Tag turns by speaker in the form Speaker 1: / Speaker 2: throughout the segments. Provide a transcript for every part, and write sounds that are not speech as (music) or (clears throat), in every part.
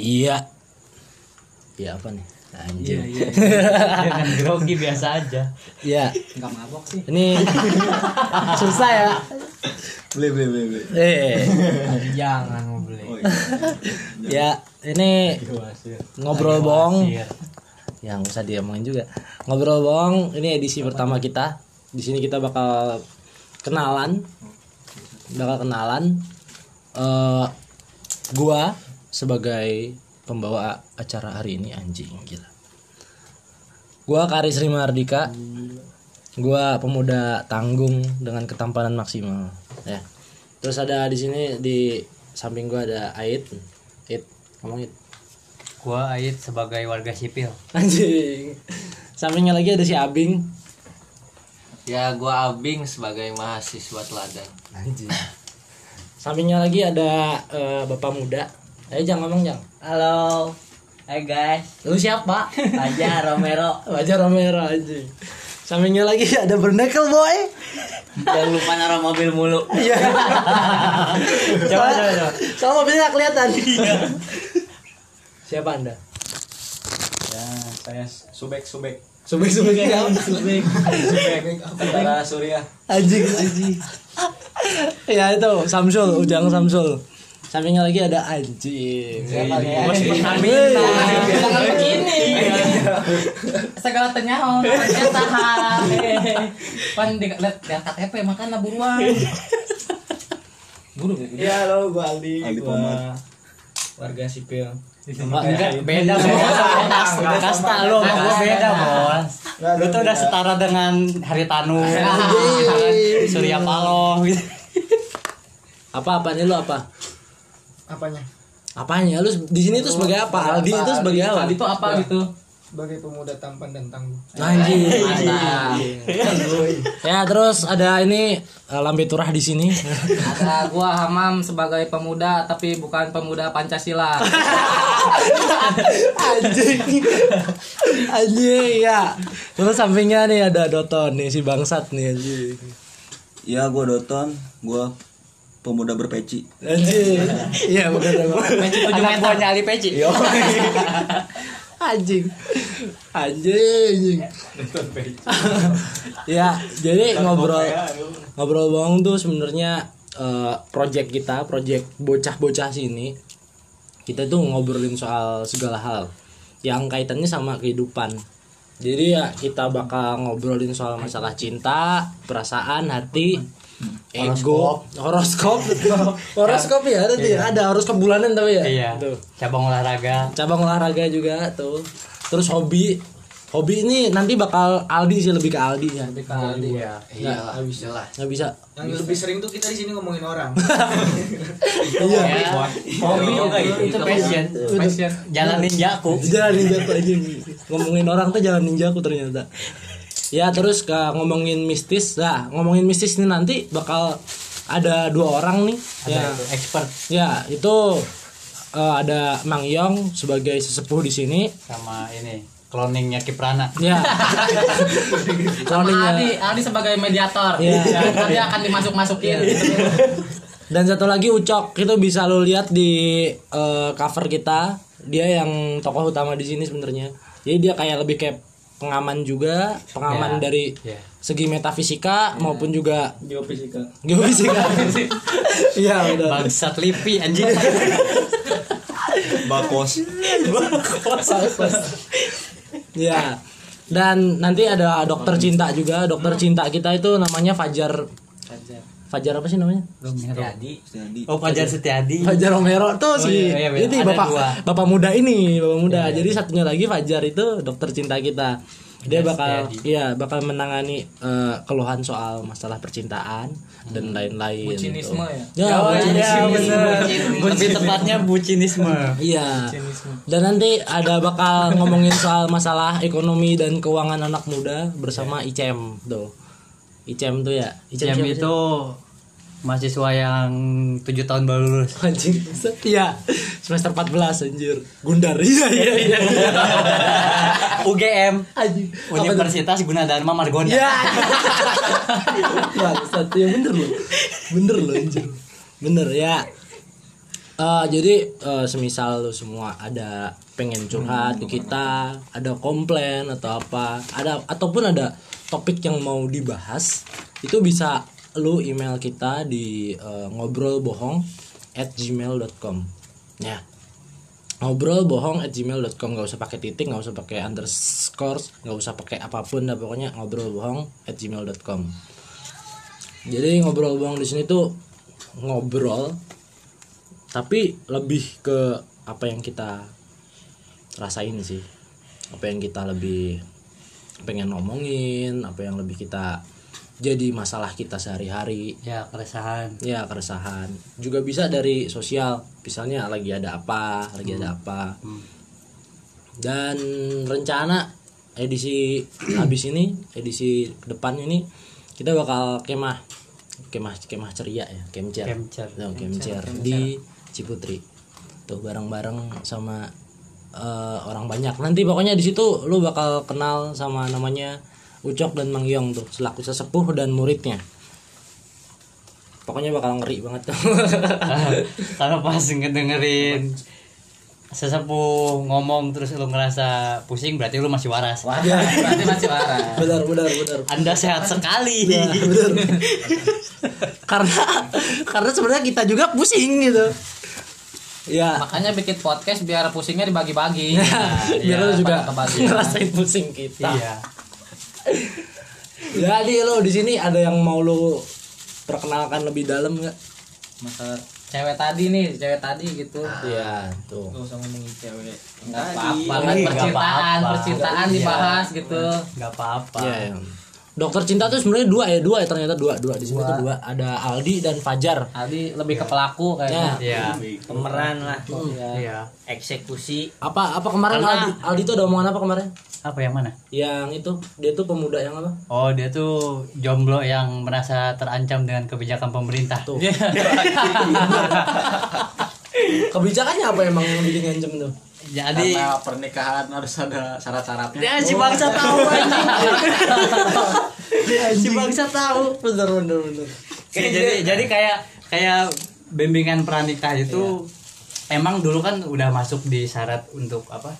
Speaker 1: Iya. Iya apa nih? Anjing.
Speaker 2: iya jangan
Speaker 3: iya. (laughs)
Speaker 2: grogi biasa aja
Speaker 1: Iya.
Speaker 2: nggak mabok sih
Speaker 4: (laughs)
Speaker 1: Ini susah ya.
Speaker 4: Beli beli beli beli.
Speaker 1: Eh.
Speaker 2: jangan mau beli
Speaker 4: Oh, iya.
Speaker 1: Ya, ini ngobrol bohong.
Speaker 4: ya.
Speaker 2: Iya.
Speaker 1: yang usah diomongin juga ngobrol bohong ini edisi pertama kita di sini kita bakal kenalan bakal kenalan eh gua sebagai pembawa acara hari ini anjing gila gua Karis Rima Ardika gua pemuda tanggung dengan ketampanan maksimal ya terus ada di sini di samping gua ada Ait Ait ngomong Ait
Speaker 2: gua Ait sebagai warga sipil
Speaker 1: Anjing. Sampingnya lagi ada si Abing.
Speaker 5: Ya gua Abing sebagai mahasiswa teladan.
Speaker 1: Anjing. Sampingnya lagi ada eh, Bapak Muda. Ayo jangan ngomong, Jang.
Speaker 3: Halo. Hai guys,
Speaker 1: Lu siapa?
Speaker 3: Fajar
Speaker 1: (laughs)
Speaker 3: Romero.
Speaker 1: Wajah Romero anjing. Sampingnya lagi ada Bernekel Boy.
Speaker 3: Jangan lupa naruh mobil mulu. (laughs)
Speaker 1: Iya.
Speaker 2: Coba, coba, coba.
Speaker 1: Soalnya mobilnya nggak kelihatan.
Speaker 3: Iya.
Speaker 1: siapa Anda?
Speaker 4: Ya, saya subek subek.
Speaker 1: Subik-subik ya, subik.
Speaker 4: Subek antara Surya.
Speaker 1: Anjing, anjing. ya itu Samsul, Ujang Samsul. Sampingnya lagi ada anjing. Siapa ya? nih?
Speaker 2: Anjing.
Speaker 1: Anjing.
Speaker 3: Jangan begini. Segala tanya namanya tahan. Pan di- lihat lihat KTP makan lah buruan.
Speaker 6: Iya halo gue Aldi
Speaker 4: Aldi
Speaker 6: gua
Speaker 4: Pomar.
Speaker 6: Warga sipil
Speaker 1: Enggak, beda
Speaker 3: Iya.
Speaker 2: Kasta, kasta lo sama Nah, gua beda bos
Speaker 6: Nggak,
Speaker 2: lu tuh
Speaker 6: nggak.
Speaker 2: udah setara dengan Haritanu
Speaker 3: Iya.
Speaker 2: Surya Paloh gitu
Speaker 1: Apa apanya lu apa?
Speaker 6: Apanya?
Speaker 1: Apanya lu di sini tuh sebagai apa? Aldi itu sebagai apa?
Speaker 3: Tadi tuh apa gitu?
Speaker 6: Sebagai pemuda tampan dan tangguh
Speaker 1: Anjing. Ya terus ada ini eh, Lambe Turah di sini.
Speaker 3: Ada gua Hamam sebagai pemuda tapi bukan pemuda Pancasila.
Speaker 1: Anjing. Anjing ya. Terus sampingnya nih ada Doton nih si bangsat nih anjing.
Speaker 4: Ya, gua Doton, gua pemuda berpeci.
Speaker 1: Anjing. Iya bukan apa.
Speaker 2: anak buahnya Ali Peci
Speaker 1: Anjing. Anjing. (laughs) ya, jadi ngobrol ngobrol bohong tuh sebenarnya eh, project kita, project bocah-bocah sini. Kita tuh ngobrolin soal segala hal yang kaitannya sama kehidupan. Jadi ya kita bakal ngobrolin soal masalah cinta, perasaan, hati, ego, horoskop. horoskop ya, tadi ada horoskop bulanan tapi ya.
Speaker 2: iya
Speaker 1: Tuh
Speaker 2: cabang olahraga
Speaker 1: cabang olahraga juga tuh terus hobi hobi ini nanti bakal Aldi sih lebih ke Aldi ya
Speaker 3: Iya.
Speaker 1: iya
Speaker 6: Habis
Speaker 1: nggak bisa
Speaker 6: Yang lebih sering tuh kita di sini ngomongin orang
Speaker 1: iya
Speaker 2: hobi
Speaker 3: Iya,
Speaker 2: itu, itu Iya. passion
Speaker 1: Passion.
Speaker 2: jalan ninjaku
Speaker 1: Oh, jalan ninja aku aja ngomongin orang tuh jalan ninja aku ternyata ya terus ke ngomongin mistis nah ngomongin mistis ini nanti bakal ada dua orang nih ya
Speaker 2: Ada itu, expert
Speaker 1: ya itu eh, ada Mang Yong sebagai sesepuh di sini
Speaker 2: sama ini cloningnya Kiprana
Speaker 3: (laughs)
Speaker 1: ya
Speaker 3: Sama
Speaker 1: Cloningnya-
Speaker 3: Adi, Adi sebagai mediator.
Speaker 1: Iya.
Speaker 3: Nanti akan dimasuk-masukin.
Speaker 1: Dan satu lagi Ucok, itu bisa lo lihat di eh, cover kita. Dia yang tokoh utama di sini sebenarnya. Jadi dia kayak lebih kayak pengaman juga, pengaman
Speaker 2: Ya,
Speaker 1: dari
Speaker 2: ya.
Speaker 1: segi metafisika maupun juga
Speaker 6: Geofisika
Speaker 1: geofisika. Iya, udah.
Speaker 2: bangsat Lipi anjing
Speaker 4: Bakos.
Speaker 1: Iya. Dan nanti ada dokter cinta juga. Dokter cinta kita itu namanya Fajar Fajar apa sih namanya?
Speaker 3: Jadi
Speaker 4: Jadi
Speaker 2: oh Fajar Setiadi
Speaker 1: Fajar Romero tuh
Speaker 2: Oh,
Speaker 1: si
Speaker 2: iya,
Speaker 1: ini
Speaker 2: iya, ada
Speaker 1: bapak
Speaker 2: dua. Iya.
Speaker 1: bapak muda ini bapak muda jadi satunya lagi Fajar itu dokter cinta kita dia
Speaker 2: Yes,
Speaker 1: bakal
Speaker 2: Jadi.
Speaker 1: iya bakal menangani eh, keluhan soal masalah percintaan dan
Speaker 2: Hmm.
Speaker 1: lain-lain
Speaker 3: Bucinisme
Speaker 1: tuh. ya
Speaker 3: ya?
Speaker 2: Oh iya
Speaker 1: bucinisme.
Speaker 2: bener Lebih tepatnya bucinisme
Speaker 1: iya dan nanti ada bakal ngomongin soal masalah ekonomi dan keuangan anak muda bersama Icem tuh Icem tuh ya
Speaker 2: Jam
Speaker 1: siapa sih?
Speaker 2: Iya.
Speaker 1: (laughs)
Speaker 2: itu mahasiswa yang tujuh tahun baru (laughs) lulus
Speaker 1: anjing iya semester 14 anjir Gundar (laughs) iya iya iya
Speaker 2: UGM
Speaker 1: anjing Apa tuh?
Speaker 2: Universitas Gunadarma Margonda
Speaker 1: (laughs) Ya. Bangsat, ya bener loh. Bener loh anjir. Bener ya. Eh Eh, jadi eh, semisal lu semua ada pengen curhat ke kita, ada komplain atau apa, ada ataupun ada topik yang mau dibahas, itu bisa lu email kita di ngobrolbohong@gmail.com at gmail.com. Ya. Ngobrol bohong at gmail.com nggak usah pakai titik, nggak usah pakai underscore, nggak usah pakai apapun, dah pokoknya ngobrol bohong at gmail.com. Jadi ngobrol bohong di sini tuh ngobrol tapi lebih ke apa yang kita rasain sih apa yang kita lebih pengen ngomongin apa yang lebih kita jadi masalah kita sehari-hari
Speaker 2: ya keresahan
Speaker 1: ya keresahan juga bisa dari sosial misalnya lagi ada apa lagi ada apa dan rencana edisi (clears throat) habis ini edisi depan ini kita bakal kemah kemah kemah ceria ya kemcer
Speaker 2: Kemcer.
Speaker 1: Tuh, kemcer di Ciputri tuh bareng-bareng sama eh, orang banyak nanti pokoknya di situ lu bakal kenal sama namanya Ucok dan Mang Yong tuh selaku sesepuh dan muridnya pokoknya bakal ngeri
Speaker 3: (laughs)
Speaker 1: banget
Speaker 2: kalau pas ngedengerin sesepuh ngomong terus lu ngerasa pusing berarti lu masih waras
Speaker 3: Berarti masih waras.
Speaker 1: benar benar (laughs) benar
Speaker 2: anda sehat sekali
Speaker 1: Iya. karena karena sebenarnya kita juga pusing gitu ya
Speaker 3: Makanya bikin podcast biar pusingnya dibagi-bagi.
Speaker 1: Nah,
Speaker 3: Nah, iya,
Speaker 1: biar lu juga
Speaker 3: pada kebagian.
Speaker 1: ngerasain pusing kita
Speaker 2: iya
Speaker 1: jadi lo Ya, di sini ada yang mau lo perkenalkan lebih dalam nggak
Speaker 3: Masalah cewek tadi nih, cewek tadi gitu.
Speaker 1: iya tuh
Speaker 6: Gak usah ngomongin cewek.
Speaker 3: Enggak apa-apa kan
Speaker 2: Iya, nggak
Speaker 3: percintaan,
Speaker 2: apa-apa.
Speaker 3: percintaan
Speaker 2: Iya.
Speaker 3: dibahas gitu.
Speaker 2: nggak apa-apa
Speaker 1: iya iya. dokter cinta tuh sebenarnya dua ya dua ya ternyata dua dua di sini tuh dua ada Aldi dan Fajar
Speaker 3: Aldi lebih ke pelaku
Speaker 1: ya
Speaker 3: kayaknya.
Speaker 2: iya
Speaker 7: pemeran lah
Speaker 2: iya
Speaker 7: eksekusi
Speaker 1: apa apa kemarin Aldi Aldi tuh ada omongan apa kemarin
Speaker 2: apa yang mana
Speaker 1: yang itu dia tuh pemuda yang apa
Speaker 2: oh dia tuh jomblo yang merasa terancam dengan kebijakan pemerintah
Speaker 1: Tuh. kebijakannya apa emang yang bikin ngancem tuh
Speaker 2: jadi
Speaker 5: pernikahan harus ada syarat-syaratnya.
Speaker 7: ya si bangsa tahu anjing. si bangsa tahu
Speaker 1: bener bener bener
Speaker 2: Kayak jadi jadi kayak kayak bimbingan pranikah itu
Speaker 1: Iya.
Speaker 2: emang dulu kan udah masuk di syarat untuk apa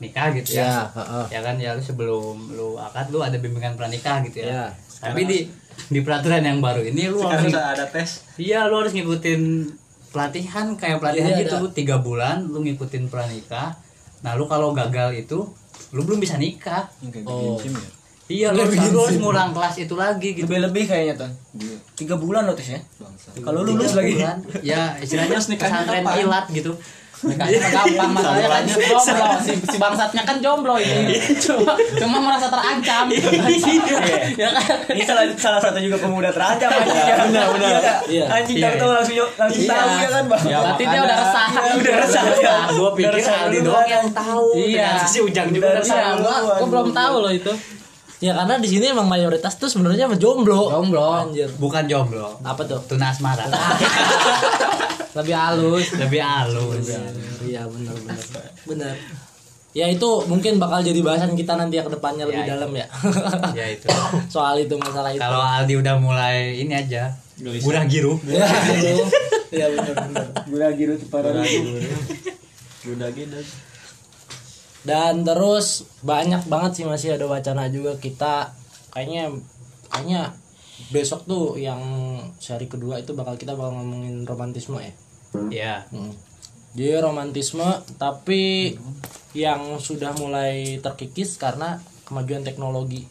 Speaker 2: nikah gitu ya
Speaker 1: ya heeh.
Speaker 2: ya kan ya lu sebelum lu akad lu ada bimbingan pranikah gitu
Speaker 1: Iya.
Speaker 2: ya tapi di di peraturan yang baru ini lu harus
Speaker 5: ada tes.
Speaker 2: iya lu harus ngikutin pelatihan kayak pelatihan
Speaker 1: Iya,
Speaker 2: gitu tiga bulan lu ngikutin pranikah nah lu kalau gagal itu lu belum bisa nikah
Speaker 1: oh
Speaker 2: iya lu harus, lu harus ngulang kelas itu lagi gitu
Speaker 6: Lebih-lebih kayaknya tuh.
Speaker 7: tiga bulan loh tes ya
Speaker 6: Kalau lulus lagi.
Speaker 2: bulan ya istilahnya pesantren kilat gitu
Speaker 3: Nikahnya mah gampang masalahnya kan dia jomblo si, si bangsatnya kan jomblo ini.
Speaker 7: Iya.
Speaker 3: Cuma cuma merasa terancam. ya kan?
Speaker 7: ini salah salah satu juga pemuda terancam anjing ya benar benar
Speaker 1: Iya.
Speaker 7: anjing
Speaker 2: Iya,
Speaker 7: tahu tahu
Speaker 2: iya.
Speaker 7: langsung langsung
Speaker 3: Iya.
Speaker 7: tahu ya kan bang
Speaker 3: Berarti dia udah
Speaker 1: (laughs)
Speaker 3: resah.
Speaker 7: udah resah ya
Speaker 2: gue pikir
Speaker 7: Dari
Speaker 2: Aldi
Speaker 7: duluan.
Speaker 2: doang yang tahu
Speaker 3: Iya.
Speaker 2: ternyata si Ujang juga
Speaker 1: Iya,
Speaker 7: Dari
Speaker 2: tahu
Speaker 7: duluan.
Speaker 3: Gua belum tahu loh itu.
Speaker 1: ya karena di sini emang mayoritas tuh sebenarnya mah jomblo
Speaker 3: Jomblo.
Speaker 1: anjir
Speaker 2: bukan jomblo
Speaker 1: apa tuh
Speaker 2: tuna
Speaker 7: (laughs)
Speaker 2: asmara
Speaker 3: Lebih halus.
Speaker 2: lebih halus
Speaker 1: iya benar benar benar ya itu mungkin bakal jadi bahasan kita nanti ya kedepannya lebih
Speaker 2: itu.
Speaker 1: dalam ya
Speaker 2: ya itu
Speaker 1: (laughs) soal itu masalah itu
Speaker 2: kalau Aldi udah mulai ini aja udah giru
Speaker 1: ya itu ya benar benar ya.
Speaker 6: Gue lagi rute para
Speaker 1: dan terus banyak banget sih masih ada wacana juga kita kayaknya kayaknya besok tuh yang sehari kedua itu bakal kita bakal ngomongin romantisme ya
Speaker 2: ya
Speaker 1: Hmm. Jadi romantisme tapi yang sudah mulai terkikis karena kemajuan teknologi.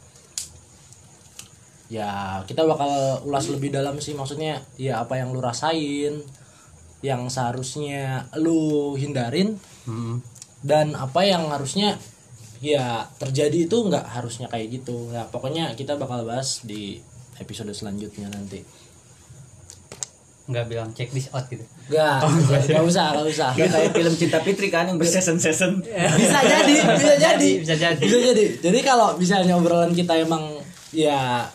Speaker 1: Ya, kita bakal ulas lebih dalam sih maksudnya ya apa yang lu rasain, yang seharusnya lu hindarin dan apa yang harusnya ya terjadi itu nggak harusnya kayak gitu. Nah, pokoknya kita bakal bahas di episode selanjutnya nanti.
Speaker 2: nggak bilang check this out gitu
Speaker 1: Gak, gak usah, gak usah.
Speaker 7: kayak film cinta Fitri kan yang berseason season
Speaker 1: bisa jadi bisa jadi
Speaker 2: bisa jadi
Speaker 1: bisa jadi jadi kalau misalnya obrolan kita emang ya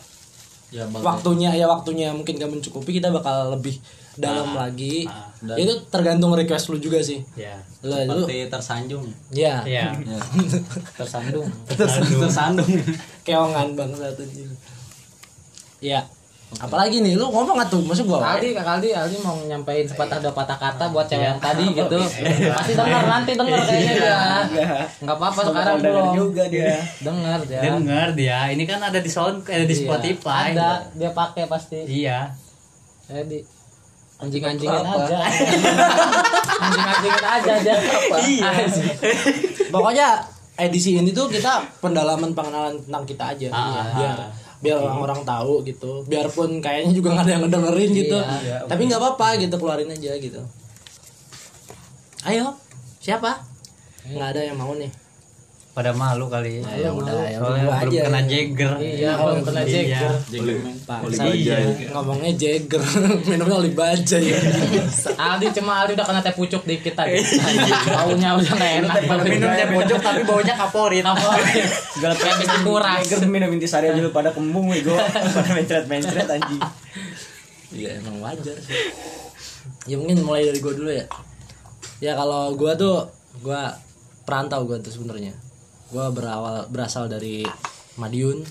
Speaker 5: Ya, Bang.
Speaker 1: waktunya ya waktunya mungkin gak mencukupi kita bakal lebih dalam lagi
Speaker 2: ah,
Speaker 1: Ya, itu tergantung request lu juga sih
Speaker 2: ya
Speaker 1: lu lu
Speaker 5: Seperti tersanjung.
Speaker 1: ya
Speaker 2: ya
Speaker 3: Iya.
Speaker 1: (laughs) tersandung
Speaker 2: Aldo.
Speaker 1: keongan bang satu ya Apalagi nih lu ngomong atuh, maksud gua.
Speaker 3: Aldi, Kak Aldi, Aldi mau nyampein sepatah dua patah kata buat
Speaker 2: Iya.
Speaker 3: cewek yang tadi
Speaker 2: (laughs)
Speaker 3: gitu. Pasti denger nanti denger kayaknya dia. Enggak apa-apa sekarang
Speaker 6: Dengar
Speaker 3: belum.
Speaker 6: juga dia.
Speaker 3: Dengar dia.
Speaker 2: Dengar dia, ini kan ada di sound ada di
Speaker 3: Ya. Iya.
Speaker 2: Spotify.
Speaker 3: Ada, dia pakai pasti.
Speaker 2: Iya.
Speaker 3: Jadi anjing-anjingan
Speaker 2: (laughs)
Speaker 3: aja. anjing-anjingan aja dia. Iya.
Speaker 1: Pokoknya edisi ini tuh kita pendalaman pengenalan tentang kita aja.
Speaker 2: Ah,
Speaker 1: Iya,
Speaker 2: ah,
Speaker 1: biar biar orang-orang tahu gitu. Biarpun kayaknya juga nggak ada yang ngedengerin gitu.
Speaker 3: Iya.
Speaker 1: Tapi nggak apa-apa gitu, keluarin aja gitu. Ayo, siapa? Nggak ada yang mau nih.
Speaker 2: Pada malu kali. Ya
Speaker 1: malu.
Speaker 2: udah,
Speaker 1: Ya
Speaker 2: soalnya
Speaker 1: udah,
Speaker 2: belum
Speaker 1: aja.
Speaker 2: kena Jagger.
Speaker 3: Iya, belum kena
Speaker 2: Iya.
Speaker 3: Jagger.
Speaker 1: Paksa ngomongnya Jagger, (laughs) minumnya oli baja ya.
Speaker 3: Aldi cuma Aldi udah kena teh pucuk dikit tadi. Baunya udah enggak enak.
Speaker 2: Iya. Minum teh pojok tapi baunya kaporit.
Speaker 3: Segala habis dikuras.
Speaker 7: Tiger tuh minum intisari aja lu pada
Speaker 4: (laughs)
Speaker 7: kembung gue pada mencret-mencret anjing
Speaker 1: Iya emang wajar sih. ya mungkin mulai dari gue dulu ya. Ya kalau gue tuh gue perantau gue tuh sebenarnya. Gue berawal berasal dari Madiun.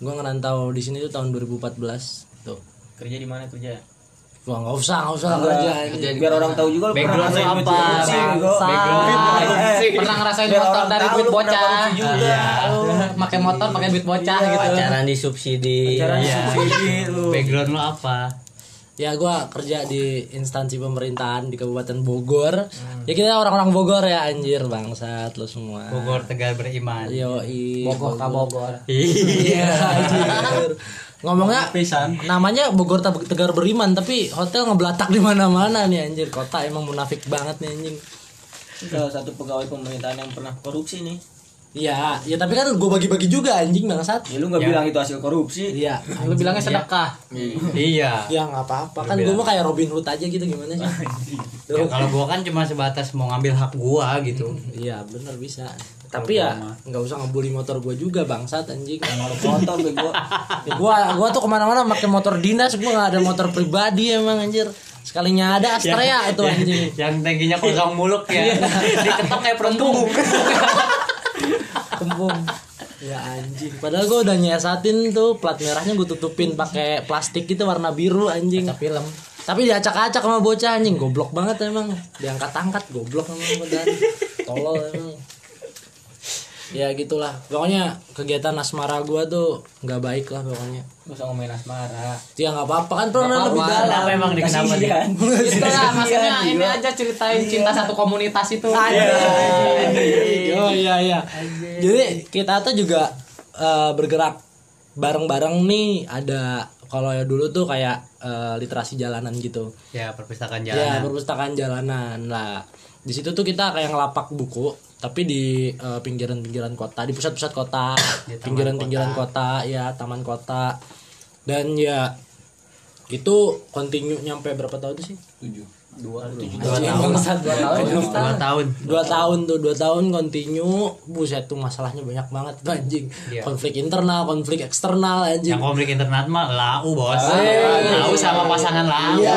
Speaker 1: Gue ngerantau di sini tuh tahun 2014 tuh.
Speaker 7: kerja di mana kerja
Speaker 1: Gua nggak usah nggak usah kerja. ini.
Speaker 7: biar orang tahu juga lu
Speaker 2: Background
Speaker 7: pernah
Speaker 2: lu
Speaker 7: ngerasain
Speaker 2: apa?
Speaker 7: duit sih, Bego.
Speaker 3: Bangsat.
Speaker 7: Eh,
Speaker 3: Pernah ngerasain
Speaker 7: biar
Speaker 3: motor
Speaker 7: orang
Speaker 3: dari
Speaker 7: tahu
Speaker 3: duit
Speaker 7: lu pernah
Speaker 3: bocah. Iya.
Speaker 7: korupsi juga. Lu
Speaker 3: Pakai motor pakai duit bocah
Speaker 1: Iya,
Speaker 3: gitu.
Speaker 5: Pacaran disubsidi.
Speaker 7: Pacaran
Speaker 2: Iya.
Speaker 7: subsidi lu
Speaker 2: (laughs) Background lo apa?
Speaker 1: Ya gue kerja di instansi pemerintahan di Kabupaten Bogor. Ya kita orang-orang Bogor ya anjir bangsat lo semua.
Speaker 2: Bogor Tegal
Speaker 3: Iya.
Speaker 2: beriman.
Speaker 1: Yoi.
Speaker 3: Bogor ka Bogor. (laughs)
Speaker 1: Iya, anjir. Ngomongnya
Speaker 7: pisan
Speaker 1: namanya Bogor Teg- Tegar Beriman tapi hotel ngebelatak di mana-mana nih anjir kota emang munafik banget nih anjing
Speaker 7: salah satu pegawai pemerintahan yang pernah korupsi nih
Speaker 1: Iya, ya tapi kan gue bagi-bagi juga anjing
Speaker 2: Eh,
Speaker 1: bangsat.
Speaker 7: ya lu nggak bilang itu hasil korupsi
Speaker 1: Iya,
Speaker 3: Lu bilangnya sedekah.
Speaker 2: Iya.
Speaker 1: ya nggak apa-apa kan gue mah kayak Robin Hood aja gitu gimana sih?
Speaker 2: Ya, kalau gua kan cuma sebatas mau ngambil hak gua gitu.
Speaker 3: (laughs)
Speaker 1: Iya bener bisa. Tapi ya nggak usah ngebully motor gue juga bangsat anjing.
Speaker 7: motor bego
Speaker 1: (laughs) Ya, gua gua tuh kemana-mana pakai motor dinas, gua nggak ada motor pribadi emang anjir. Sekalinya ada Astrea itu anjing.
Speaker 2: Yang tangkinya kosong muluk ya.
Speaker 3: Iya.
Speaker 2: Diketok kayak perut kembung.
Speaker 1: kembung ya anjing padahal gue udah nyiasatin tuh plat merahnya gue tutupin pakai plastik gitu warna biru anjing film tapi diacak-acak sama bocah anjing goblok banget emang diangkat-angkat goblok emang dan tolol emang ya gitulah pokoknya kegiatan asmara gue tuh nggak baik lah pokoknya
Speaker 3: Gak usah ngomongin asmara.
Speaker 1: ya nggak apa-apa kan pernah lebih dalam Iya.
Speaker 2: Kenapa emang nih kenapa nih?
Speaker 3: Itu lah Nah, maksudnya ini aja ceritain cinta satu komunitas itu.
Speaker 1: Iya, Oh iya iya. Jadi kita tuh juga eh, bergerak bareng-bareng nih ada kalau ya dulu tuh kayak eh, literasi jalanan gitu.
Speaker 2: (laughs) Ya perpustakaan
Speaker 3: Iya.
Speaker 1: Ya,
Speaker 2: jalanan.
Speaker 1: perpustakaan jalanan. Lah, di situ tuh kita kayak ngelapak buku tapi di eh, pinggiran-pinggiran kota, di pusat-pusat kota,
Speaker 2: (coughs) Di taman
Speaker 1: pinggiran-pinggiran kota. ya taman kota. Dan ya itu continue nyampe berapa tahun tuh sih?
Speaker 2: Dua tahun. Dua tahun.
Speaker 1: dua tahun tuh dua tahun continue buset tuh masalahnya banyak banget tuh anjing
Speaker 2: Iya.
Speaker 1: konflik internal konflik eksternal anjing
Speaker 2: Yang konflik internat mah lau bos. Lau sama pasangan lau bos.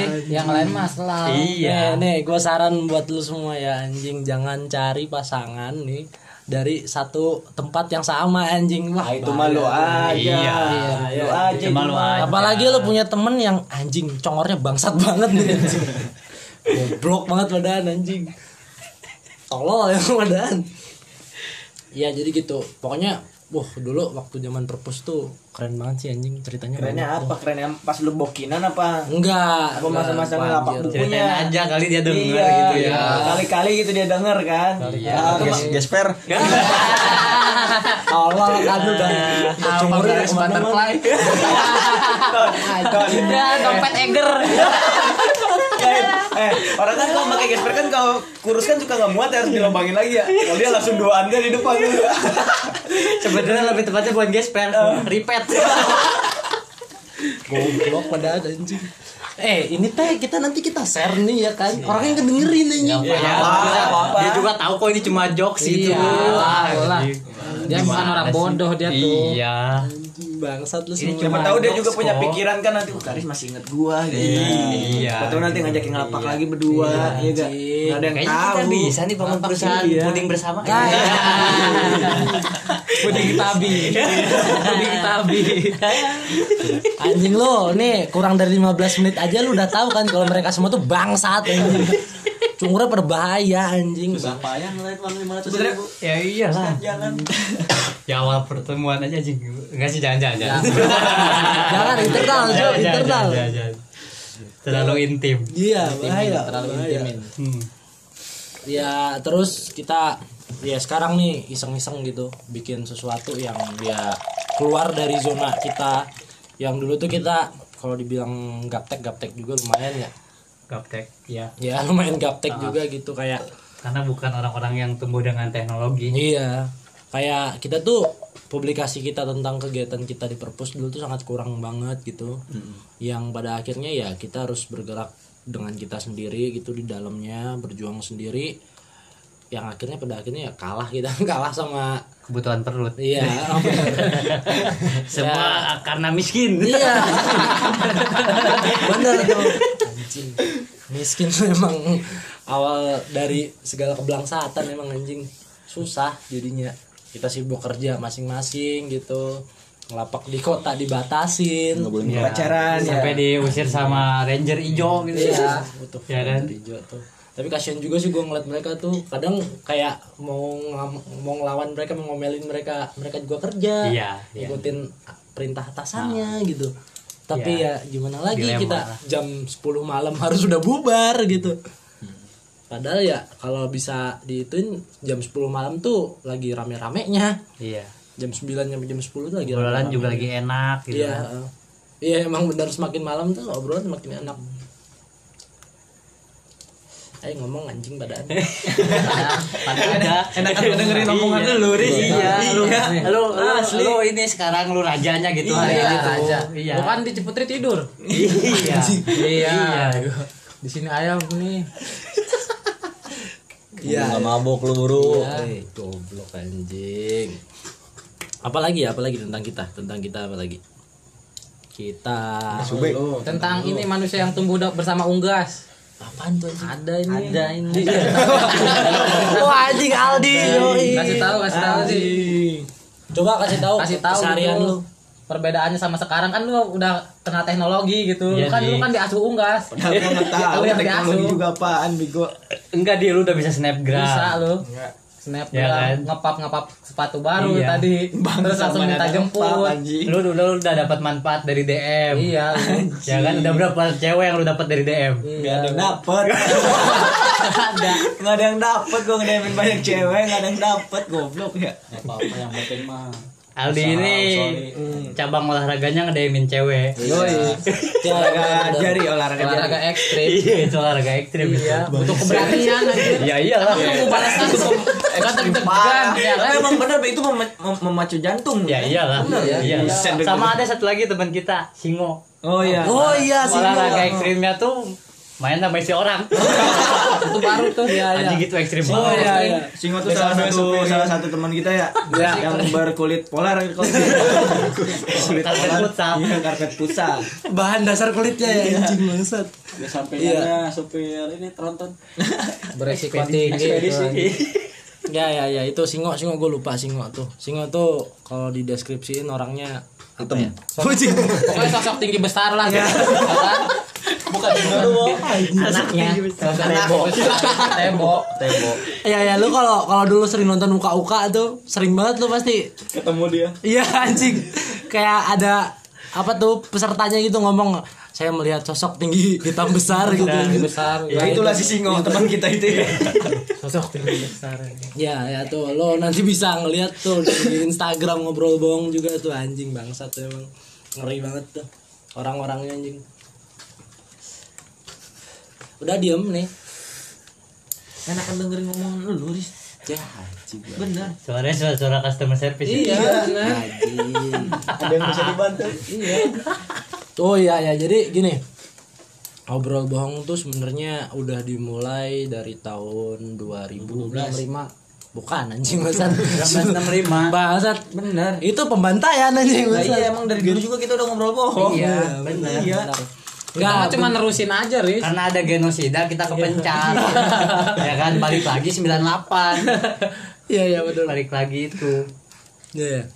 Speaker 3: Iya. Yang lain mas lah.
Speaker 2: Iya.
Speaker 1: nih, gue saran buat lu semua ya anjing jangan cari pasangan nih dari satu tempat yang sama anjing Wah,
Speaker 7: ah itu mah lu aja
Speaker 2: Iya.
Speaker 7: lu aja
Speaker 2: Cuma lu
Speaker 7: lu aja
Speaker 2: aja.
Speaker 1: apalagi lu punya temen yang anjing congornya bangsat banget nih anjing goblok banget padahal anjing tolol ya (laughs) padahal ya jadi gitu pokoknya wah dulu waktu zaman perpus tuh keren banget sih anjing ceritanya
Speaker 7: kerennya
Speaker 1: banyak
Speaker 7: apa
Speaker 1: tuh.
Speaker 7: kerennya pas lu bokinan apa
Speaker 1: enggak
Speaker 7: apa masa-masa
Speaker 1: enggak,
Speaker 7: ngelapak
Speaker 1: anjir.
Speaker 7: bukunya
Speaker 2: Ceritain aja kali dia denger
Speaker 7: Iya,
Speaker 2: gitu ya.
Speaker 7: kali-kali gitu dia denger kan iya
Speaker 4: Ah, Gesper
Speaker 1: tolol kan udah congornya
Speaker 3: Penggaris
Speaker 1: kemana-mana.
Speaker 3: butterfly.
Speaker 1: iya.
Speaker 3: Ya, dompet Eger.
Speaker 7: eh orang kan kalau pakai gesper kan kalau kurus kan suka nggak muat ya, harus dilobangin lagi ya kalau dia langsung doaan dia di depan dulu
Speaker 2: Sebenarnya lebih tepatnya bukan gesper, ripet.
Speaker 1: goblok padahal anjing eh ini teh kita nanti kita share nih ya kan orangnya kedengerin anjing Iya,
Speaker 2: Ya,
Speaker 7: apa-apa.
Speaker 2: dia juga tahu kok ini cuma jokes gitu.
Speaker 3: Iya,
Speaker 2: Wah,
Speaker 3: lah.
Speaker 2: anjing.
Speaker 3: Dia bukan orang bodoh dia tuh.
Speaker 2: Iya.
Speaker 1: bangsat lu
Speaker 7: Ini
Speaker 1: semua
Speaker 7: siapa tahu dia
Speaker 2: Box
Speaker 7: juga punya
Speaker 2: kok.
Speaker 7: pikiran kan nanti "Oh, Karis masih inget gua gitu.
Speaker 2: Iya.
Speaker 7: Siapa tahu nanti ngajakin ngelapak lagi berdua, iya enggak? Enggak ada yang
Speaker 2: Kayaknya
Speaker 7: tahu.
Speaker 2: kita bisa nih bangun perusahaan
Speaker 7: iya.
Speaker 2: puding bersama. Iya.
Speaker 1: Iya.
Speaker 3: Puding tabi. Puding tabi.
Speaker 1: anjing lo nih kurang dari 15 menit aja lu udah tahu kan kalau mereka semua tuh bangsat anjing cungurnya berbahaya anjing
Speaker 4: Payah ngeliat uang lima ratus
Speaker 7: Sebenarnya
Speaker 2: Ya iya lah.
Speaker 4: jangan.
Speaker 2: (laughs) Ya awal pertemuan aja sih. Enggak sih jangan jangan. jangan.
Speaker 1: jangan internal
Speaker 2: Jangan,
Speaker 1: Jo,
Speaker 2: jangan,
Speaker 1: internal
Speaker 2: jangan, jangan. Terlalu intim.
Speaker 1: iya bahaya
Speaker 3: Terlalu
Speaker 1: bahaya.
Speaker 3: intimin.
Speaker 2: Hmm.
Speaker 1: ya terus kita ya sekarang nih iseng-iseng gitu bikin sesuatu yang dia keluar dari zona kita yang dulu tuh kita kalau dibilang gaptek gaptek juga lumayan ya
Speaker 2: Gaptek. Ya.
Speaker 1: ya (laughs) lumayan gaptek juga gitu kayak
Speaker 2: Karena bukan orang-orang yang tumbuh dengan teknologi.
Speaker 1: iya kayak kita tuh publikasi kita tentang kegiatan kita di perpus dulu tuh sangat kurang banget gitu yang pada akhirnya ya kita harus bergerak dengan kita sendiri gitu di dalamnya berjuang sendiri yang akhirnya pada akhirnya ya kalah kita (laughs) kalah sama
Speaker 2: Kebutuhan perut.
Speaker 1: Iya.
Speaker 2: Semua karena miskin. (laughs)
Speaker 1: Iya. Bener tuh. Anjing. Miskin tuh emang awal dari segala kebelangsatan emang anjing susah jadinya. Kita sibuk kerja masing-masing gitu. Ngelapak di kota dibatasin.
Speaker 4: Nggak boleh
Speaker 2: Ya,
Speaker 7: pacaran, ya.
Speaker 2: sampai diusir sama ranger hijau gitu
Speaker 1: Iya, butuh
Speaker 2: (laughs) Ya kan?
Speaker 1: warna hijau tuh. Tapi kasihan juga sih gue ngeliat mereka tuh kadang kayak mau ngam- mau ngelawan mereka mau ngomelin mereka mereka juga kerja
Speaker 2: Iya, iya. Ah.
Speaker 1: ngikutin perintah atasannya gitu tapi
Speaker 2: Iya.
Speaker 1: ya gimana lagi
Speaker 2: Dilema
Speaker 1: kita
Speaker 2: lah.
Speaker 1: jam 10 malam (laughs) harus sudah bubar gitu
Speaker 2: Hmm.
Speaker 1: padahal ya kalau bisa diituin jam 10 malam tuh lagi rame-ramenya
Speaker 2: iya
Speaker 1: jam 9 sampai jam 10 tuh lagi rame-ramenya.
Speaker 2: obrolan juga lagi enak gitu
Speaker 1: Iya.
Speaker 2: kan.
Speaker 1: heeh. Iya emang benar semakin malam tuh obrolan semakin enak.
Speaker 2: Hmm.
Speaker 1: Ayo ngomong anjing badan.
Speaker 2: ada enakan dengerin omongan lu Riz iya lu
Speaker 7: ya.
Speaker 2: lu, lu, lu ini sekarang lu rajanya gitu hari ini tuh.
Speaker 3: aja.
Speaker 2: iya
Speaker 3: Bukan di Ciputri tidur.
Speaker 2: iya
Speaker 3: Iya. Di sini ayam nih.
Speaker 4: Iya. Nggak mabok lu bro.
Speaker 1: Eh, goblok anjing. Apalagi ya, apalagi tentang kita, tentang kita apalagi. Kita
Speaker 4: Sube.
Speaker 3: Tentang ini manusia yang tumbuh da- bersama unggas.
Speaker 1: apaan tuh anjing?
Speaker 3: Ada ini. Ada ini.
Speaker 1: Iya. (laughs) Wah, anjing Aldi.
Speaker 7: Oh,
Speaker 1: yoi.
Speaker 7: iya.
Speaker 3: Kasih tahu, kasih tahu sih.
Speaker 1: Coba kasih tahu
Speaker 3: Kasih tahu
Speaker 1: keseharian
Speaker 3: dulu.
Speaker 1: lu.
Speaker 3: Perbedaannya sama sekarang kan lu udah kenal teknologi gitu.
Speaker 2: Iya,
Speaker 3: Lu kan lu
Speaker 2: Dik.
Speaker 3: kan diasuh unggas.
Speaker 7: Aku nggak tahu
Speaker 3: Lu yang
Speaker 7: teknologi
Speaker 3: diasuh.
Speaker 7: juga apaan bego.
Speaker 2: enggak dia lu udah bisa snapgram
Speaker 3: Bisa lu. Snap
Speaker 2: Ya Iya. kan?
Speaker 3: ngepap ngepap sepatu baru
Speaker 2: Iya.
Speaker 3: tadi. Terus langsung
Speaker 2: sama
Speaker 3: minta
Speaker 2: ada
Speaker 3: jemput.
Speaker 2: lu, lu, lu udah dapat manfaat dari DM
Speaker 3: Iya. lu.
Speaker 2: ya kan udah berapa cewek yang lu dapat dari DM
Speaker 7: Nggak ada yang dapet. (laughs) Nggak ada yang dapet gue ngedemin banyak cewek, nggak ada yang dapet goblok ya.
Speaker 6: apa-apa yang penting mah
Speaker 2: Aldi ini cabang olahraganya ngedemin cewek
Speaker 1: Ya,
Speaker 7: Olahraga jari, olahraga jari.
Speaker 3: Olahraga ekstrim.
Speaker 2: iya itu olahraga ekstrim iya
Speaker 3: Butuh keberanian anjir.
Speaker 2: ya iyalah
Speaker 7: Iya.
Speaker 3: Mau balas langsung. Gak deg-degan
Speaker 7: Parah.
Speaker 3: ya kan.
Speaker 7: Emang bener itu mem- mem- memacu jantung.
Speaker 2: ya iyalah iya
Speaker 7: Iya, iya.
Speaker 2: sama ada satu lagi teman kita Singo
Speaker 7: Oh iya.
Speaker 1: Oh iya sih.
Speaker 2: olahraga ekstrimnya tuh main sama isi orang
Speaker 3: Itu baru tuh. iya.
Speaker 2: anjing gitu ekstrim
Speaker 7: Oh
Speaker 2: banget
Speaker 7: iya, iya. Singo tuh salah satu salah satu teman kita ya, yang berkulit polar (laughs) kalau kulit
Speaker 2: Karpet
Speaker 7: polar.
Speaker 2: futsal.
Speaker 7: Iya, karpet futsal.
Speaker 1: Bahan dasar kulitnya ya anjing bangsat.
Speaker 6: udah sampingannya supir ini tronton
Speaker 3: Beresiko tinggi.
Speaker 1: Ya ya ya itu singo singo gue lupa singo tuh singo tuh kalau dideskripsiin orangnya
Speaker 4: Hitam.
Speaker 2: ya?
Speaker 3: Pokoknya sosok tinggi besar lah gitu. Ya kan? Bukan anaknya. Tembok. Tembok.
Speaker 4: Tembok.
Speaker 1: ya ya lu kalau kalau dulu sering nonton uka uka tuh sering banget lu pasti
Speaker 7: Ketemu dia.
Speaker 1: iya anjing kayak ada apa tuh pesertanya gitu ngomong saya melihat sosok tinggi hitam besar gitu
Speaker 3: Besar.
Speaker 7: Ya itulah si Singo teman kita itu ya.
Speaker 1: ya ya tuh lo nanti bisa ngeliat tuh di Instagram ngobrol bohong juga tuh anjing bangsat tuh emang ngeri banget tuh orang-orangnya anjing udah diem nih
Speaker 7: Enakan dengerin ngomong lu, Riz.
Speaker 1: ya anjing
Speaker 7: Bener.
Speaker 2: suaranya suara suara customer service ya.
Speaker 1: kan?
Speaker 3: Iya. bener.
Speaker 1: anjing
Speaker 7: Ada yang bisa dibantu?
Speaker 1: Oh iya ya, jadi gini. Obrol bohong tuh sebenarnya udah dimulai dari tahun 2005. bukan anjing bangsat
Speaker 6: menerima.
Speaker 1: bangsat
Speaker 6: Bener.
Speaker 1: itu pembantaian anjing
Speaker 4: Nah,
Speaker 1: bangsat
Speaker 4: iya emang dari dulu juga kita udah ngobrol bohong.
Speaker 2: Iya, benar.
Speaker 1: Enggak,
Speaker 3: cuma nerusin aja, Riz.
Speaker 2: Karena ada genosida kita kepencar. (laughs) ya kan balik lagi 98.
Speaker 1: iya iya betul
Speaker 2: Balik lagi itu.
Speaker 1: Iya.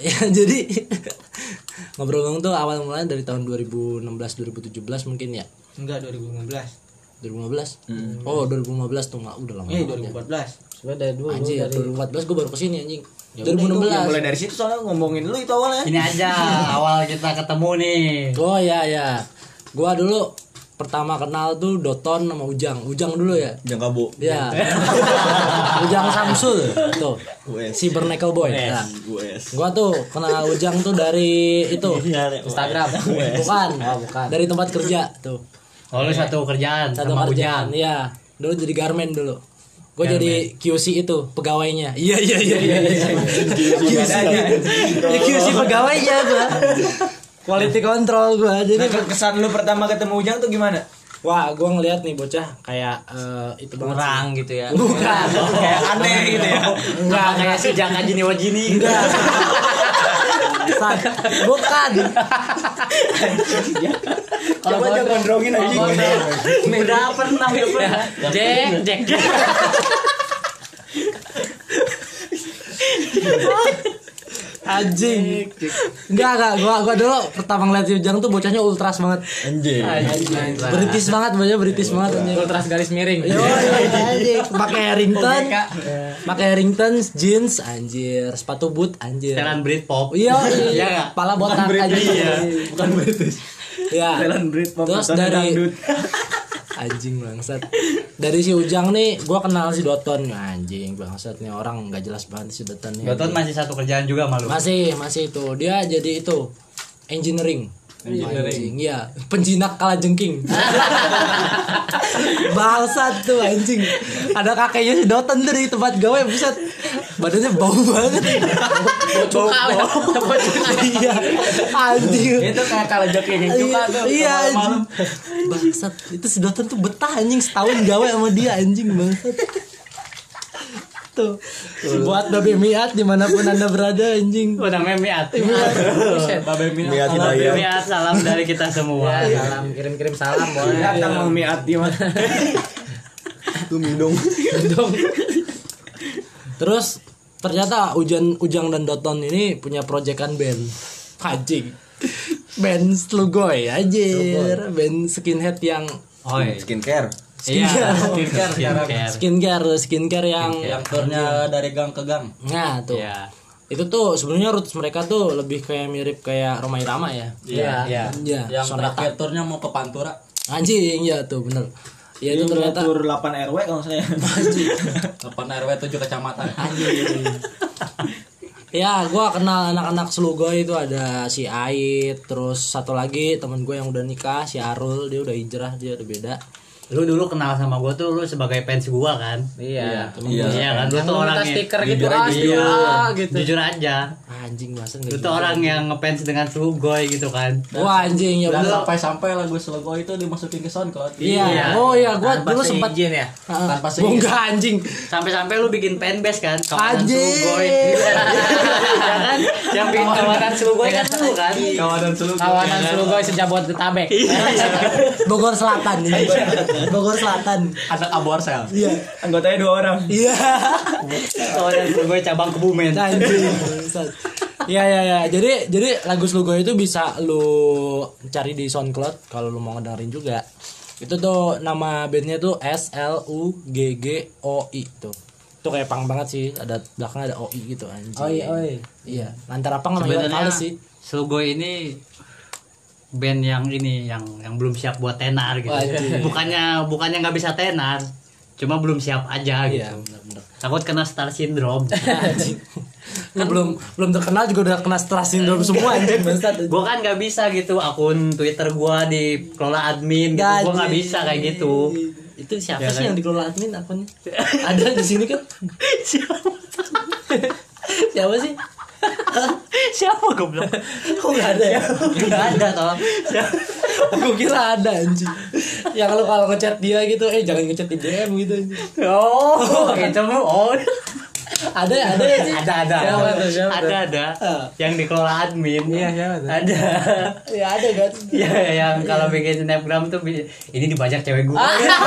Speaker 1: iya. Ya, (laughs) jadi ngobrol ngomong tuh awal mulanya dari tahun 2016 2017 mungkin ya.
Speaker 7: Enggak 2015.
Speaker 1: 2015.
Speaker 4: Hmm.
Speaker 1: Oh, 2015 tuh nggak udah lama.
Speaker 4: Iya,
Speaker 7: Ini
Speaker 1: banget ya.
Speaker 7: 2014.
Speaker 6: Sebenarnya dari dulu
Speaker 1: Anjing,
Speaker 6: dari
Speaker 1: 2014 gue baru kesini anjing.
Speaker 7: Ya,
Speaker 4: Iya,
Speaker 1: 2016.
Speaker 7: mulai dari situ soalnya ngomongin lu itu awalnya.
Speaker 2: Ini aja awal kita ketemu nih.
Speaker 1: Oh ya ya. Gua dulu pertama kenal tuh Doton sama Ujang. Ujang dulu ya.
Speaker 4: Jangka bu.
Speaker 1: Ya.
Speaker 4: Iya.
Speaker 1: (laughs) Ujang Samsul tuh.
Speaker 4: US.
Speaker 1: Cybernacle Boy. Nah,
Speaker 4: US.
Speaker 1: gua tuh kenal Ujang tuh dari itu.
Speaker 4: Instagram. US.
Speaker 1: iya. Oh, Bukan. Dari tempat kerja tuh.
Speaker 2: Oh, lu satu kerjaan
Speaker 1: Satu
Speaker 2: sama
Speaker 1: kerjaan.
Speaker 2: Ujang.
Speaker 1: Iya. Dulu jadi garmen dulu. Gue jadi QC itu pegawainya. Iya iya iya iya. iya. QC. Ya, QC pegawainya gua. Quality control gua. Jadi
Speaker 7: Nah, ke- kesan lu pertama ketemu Ujang tuh gimana?
Speaker 1: wah, gua ngelihat nih bocah kayak eh, itu banget sih.
Speaker 5: kurang gitu
Speaker 1: Iya.
Speaker 5: ya
Speaker 1: Bukan.
Speaker 7: Kayak aneh gitu ya.
Speaker 1: Enggak kayak si Jaka Jini Wajini. Enggak. Kan? Bukan.
Speaker 7: Coba aja gondrongin aja.
Speaker 3: Udah pernah ya, pernah. Jack, Jack.
Speaker 1: Anjing. Enggak, enggak. Gua gua dulu pertama ngeliat si Ujang tuh bocahnya ultras banget.
Speaker 4: Anjing.
Speaker 1: British banget, bocahnya British banget anjing.
Speaker 3: Ultras garis miring.
Speaker 1: Yo, anjing. Pakai Harrington. Pakai Harrington jeans anjir, sepatu boot anjir.
Speaker 2: Telan Britpop.
Speaker 1: Iya,
Speaker 2: Iya
Speaker 1: iya.
Speaker 2: nggak?
Speaker 1: Pala botak anjing.
Speaker 7: Bukan British.
Speaker 1: Ya.
Speaker 7: Thailand Brit
Speaker 1: Terus dari (laughs) anjing bangsat. Dari si Ujang nih, gua kenal si Doton anjing bangsat nih orang nggak jelas banget si Doton nih.
Speaker 2: Doton masih satu kerjaan juga malu.
Speaker 1: Masih, masih itu. Dia jadi itu engineering. Engineering. Iya, penjinak kala jengking. Bangsat tuh anjing. Ada kakeknya si Doton tuh di tempat gawe buset. Badannya bau banget. bau Iya. Anjing.
Speaker 3: Itu kayak kalau joki yang suka tuh.
Speaker 1: Iya anjing. Bangsat, itu si Doton tuh betah anjing setahun gawe sama dia anjing bangsat. Tuh. Buat babi miat dimanapun anda berada anjing.
Speaker 2: Udah memiat.
Speaker 6: Babe Mina.
Speaker 4: Lihat hidayah.
Speaker 2: Memiat salam dari kita semua.
Speaker 3: Salam kirim-kirim salam boleh.
Speaker 7: Datang Mang Miat di mana?
Speaker 4: Itu minum.
Speaker 1: Terus ternyata Ujan Ujang dan Doton ini punya proyekan band. Anjing. Band Slugoy anjir. Band skinhead yang
Speaker 2: Oi.
Speaker 4: Skincare.
Speaker 2: Iya,
Speaker 1: skincare.
Speaker 2: skincare sekarang.
Speaker 1: skincare, skincare yang
Speaker 6: Aktornya dari gang ke gang.
Speaker 1: nah tuh.
Speaker 2: Iya.
Speaker 1: Itu tuh sebenarnya roots mereka tuh lebih kayak mirip kayak Roma Irama ya.
Speaker 2: Iya.
Speaker 1: Iya,
Speaker 6: Yang
Speaker 1: sonata.
Speaker 6: terakhir turnya mau ke Pantura.
Speaker 1: Anjing, iya tuh bener. Ya itu ternyata
Speaker 7: Tur 8 RW kalau saya.
Speaker 6: 8 RW 7 kecamatan.
Speaker 1: Ya, iya, gua kenal anak-anak Slugoy itu ada si Ait, terus satu lagi temen gue yang udah nikah, si Arul, dia udah hijrah, dia udah beda.
Speaker 2: Lu dulu kenal sama gua tuh lu sebagai fans gua kan?
Speaker 3: Iya.
Speaker 2: Iya, kan lu tuh orang
Speaker 3: Minta
Speaker 2: yang
Speaker 3: stiker gitu ah,
Speaker 2: Iya,
Speaker 3: ah, gitu.
Speaker 2: jujur aja.
Speaker 1: Anjing masa
Speaker 2: Lu
Speaker 1: enggak.
Speaker 2: tuh orang yang ngefans dengan Sugoy gitu kan.
Speaker 1: Wah, anjing ya
Speaker 6: Dan
Speaker 1: bener.
Speaker 6: sampai-sampai lagu slogo itu dimasukin ke soundcloud.
Speaker 1: Iya. Oh iya, gua
Speaker 3: Tanpa
Speaker 1: dulu sempat
Speaker 3: seizin ya.
Speaker 1: Heeh.
Speaker 6: Tanpa
Speaker 1: Oh,
Speaker 6: seizin.
Speaker 1: enggak anjing.
Speaker 2: Sampai-sampai lu bikin fanbase kan? Kawanan
Speaker 1: Anjing.
Speaker 2: Sugoy. (laughs) ya kan? Yang bikin kawanan Sugoy kan lu kan?
Speaker 7: Kawanan selalu
Speaker 3: Kawanan
Speaker 2: Iya.
Speaker 3: Slugoy sejabot tetabek.
Speaker 1: Bogor Selatan ini. Bogor Selatan.
Speaker 6: Anak Aborsel.
Speaker 1: Iya.
Speaker 7: anggotanya dua orang.
Speaker 1: Iya.
Speaker 2: Kawanan Sugoy cabang Kebumen.
Speaker 1: Anjing. bangsat. Iya iya iya. Jadi jadi lagu Slugoy itu bisa lu cari di SoundCloud kalau lu mau ngedengerin juga. Itu tuh nama bandnya tuh S L U G G O I tuh. Itu kayak pang banget sih, ada belakang ada OI gitu anjing.
Speaker 3: Oi, oi.
Speaker 1: Iya, antara pang sama
Speaker 2: Sebenarnya
Speaker 1: vokalis sih.
Speaker 2: Sugoy ini band yang ini yang yang belum siap buat tenar gitu.
Speaker 1: Waduh.
Speaker 2: Bukannya bukannya nggak bisa tenar, cuma belum siap aja gitu.
Speaker 1: Iya, benar-benar.
Speaker 2: Takut kena star syndrome. (laughs)
Speaker 1: Anjing. Lu Nah, belum belum terkenal juga udah kena stress syndrome
Speaker 2: Iya.
Speaker 1: semua anjing bangsat.
Speaker 2: gue kan nggak bisa gitu akun Twitter gua dikelola admin gitu. Gue nggak bisa kayak gitu.
Speaker 1: Itu
Speaker 2: Iya
Speaker 1: siapa sih
Speaker 2: kan?
Speaker 1: (laughs) yang dikelola admin
Speaker 2: (laughs)
Speaker 1: akunnya? Ada di sini kan? siapa sih?
Speaker 2: Siapa goblok?
Speaker 1: Kok nggak ada ya?
Speaker 2: Gak ada toh.
Speaker 1: Aku kira ada anjing. yang lu kalau ngechat dia gitu eh jangan ngechat di DM gitu
Speaker 2: Oh, itu mah oh.
Speaker 1: ada ya ada ya sih
Speaker 2: Ada ada.
Speaker 1: kan? Siapa tuh, siapa tuh? Ah.
Speaker 2: Ada ada. Yang dikelola admin. Iya, Ada.
Speaker 1: ya ada kan
Speaker 2: Ya, yang kalau bikin snapgram tuh bi- ini dibajak cewek
Speaker 1: Ah,
Speaker 2: gue.
Speaker 1: (laughs)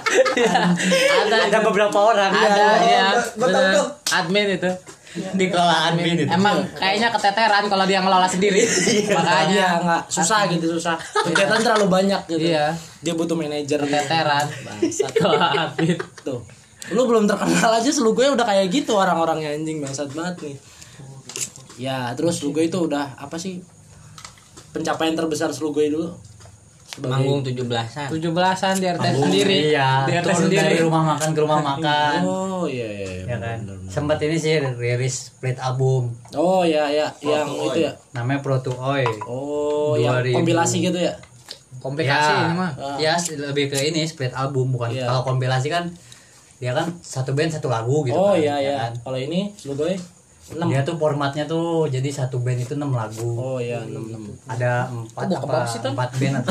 Speaker 2: ada ada beberapa orang. iya.
Speaker 3: ada ya bener. admin itu
Speaker 2: (laughs) dikelola admin itu. Iya.
Speaker 3: emang kayaknya keteteran kalau dia ngelola
Speaker 2: (laughs)
Speaker 3: sendiri
Speaker 1: makanya
Speaker 3: makanya
Speaker 1: Iya, nggak susah gitu susah kegiatan terlalu banyak gitu
Speaker 3: Iya.
Speaker 1: dia butuh manajer
Speaker 3: keteteran
Speaker 1: bangsat
Speaker 3: kalau admin
Speaker 1: tuh gitu. lu belum terkenal aja selugunya udah kayak gitu orang-orangnya anjing bangsat banget nih ya terus selugunya itu udah apa sih pencapaian terbesar selugunya dulu
Speaker 5: Manggung 17-an.
Speaker 3: tujuh belasan di RT sendiri
Speaker 2: Iya,
Speaker 3: di RT
Speaker 2: turun
Speaker 3: sendiri
Speaker 2: dari rumah makan ke rumah makan.
Speaker 1: oh iya iya, iya.
Speaker 2: ya kan. Sempat ini sih rilis split album
Speaker 1: oh ya ya yang itu ya
Speaker 2: namanya Pro to Oi.
Speaker 1: oh yang
Speaker 2: 2000.
Speaker 1: kompilasi gitu ya
Speaker 3: komplikasi
Speaker 2: Ya.
Speaker 3: ini mah
Speaker 2: Ya, lebih ke ini split album bukan
Speaker 1: Iya.
Speaker 2: kalau kompilasi kan dia kan satu band satu lagu gitu
Speaker 1: oh
Speaker 2: kan.
Speaker 1: iya
Speaker 2: ya
Speaker 1: iya
Speaker 2: kan?
Speaker 1: kalau ini ya? selugunya 6
Speaker 2: Dia tuh formatnya tuh jadi satu band itu 6 lagu.
Speaker 1: oh iya 6
Speaker 2: Ada 4 apa, 4 band
Speaker 1: (laughs)
Speaker 2: atau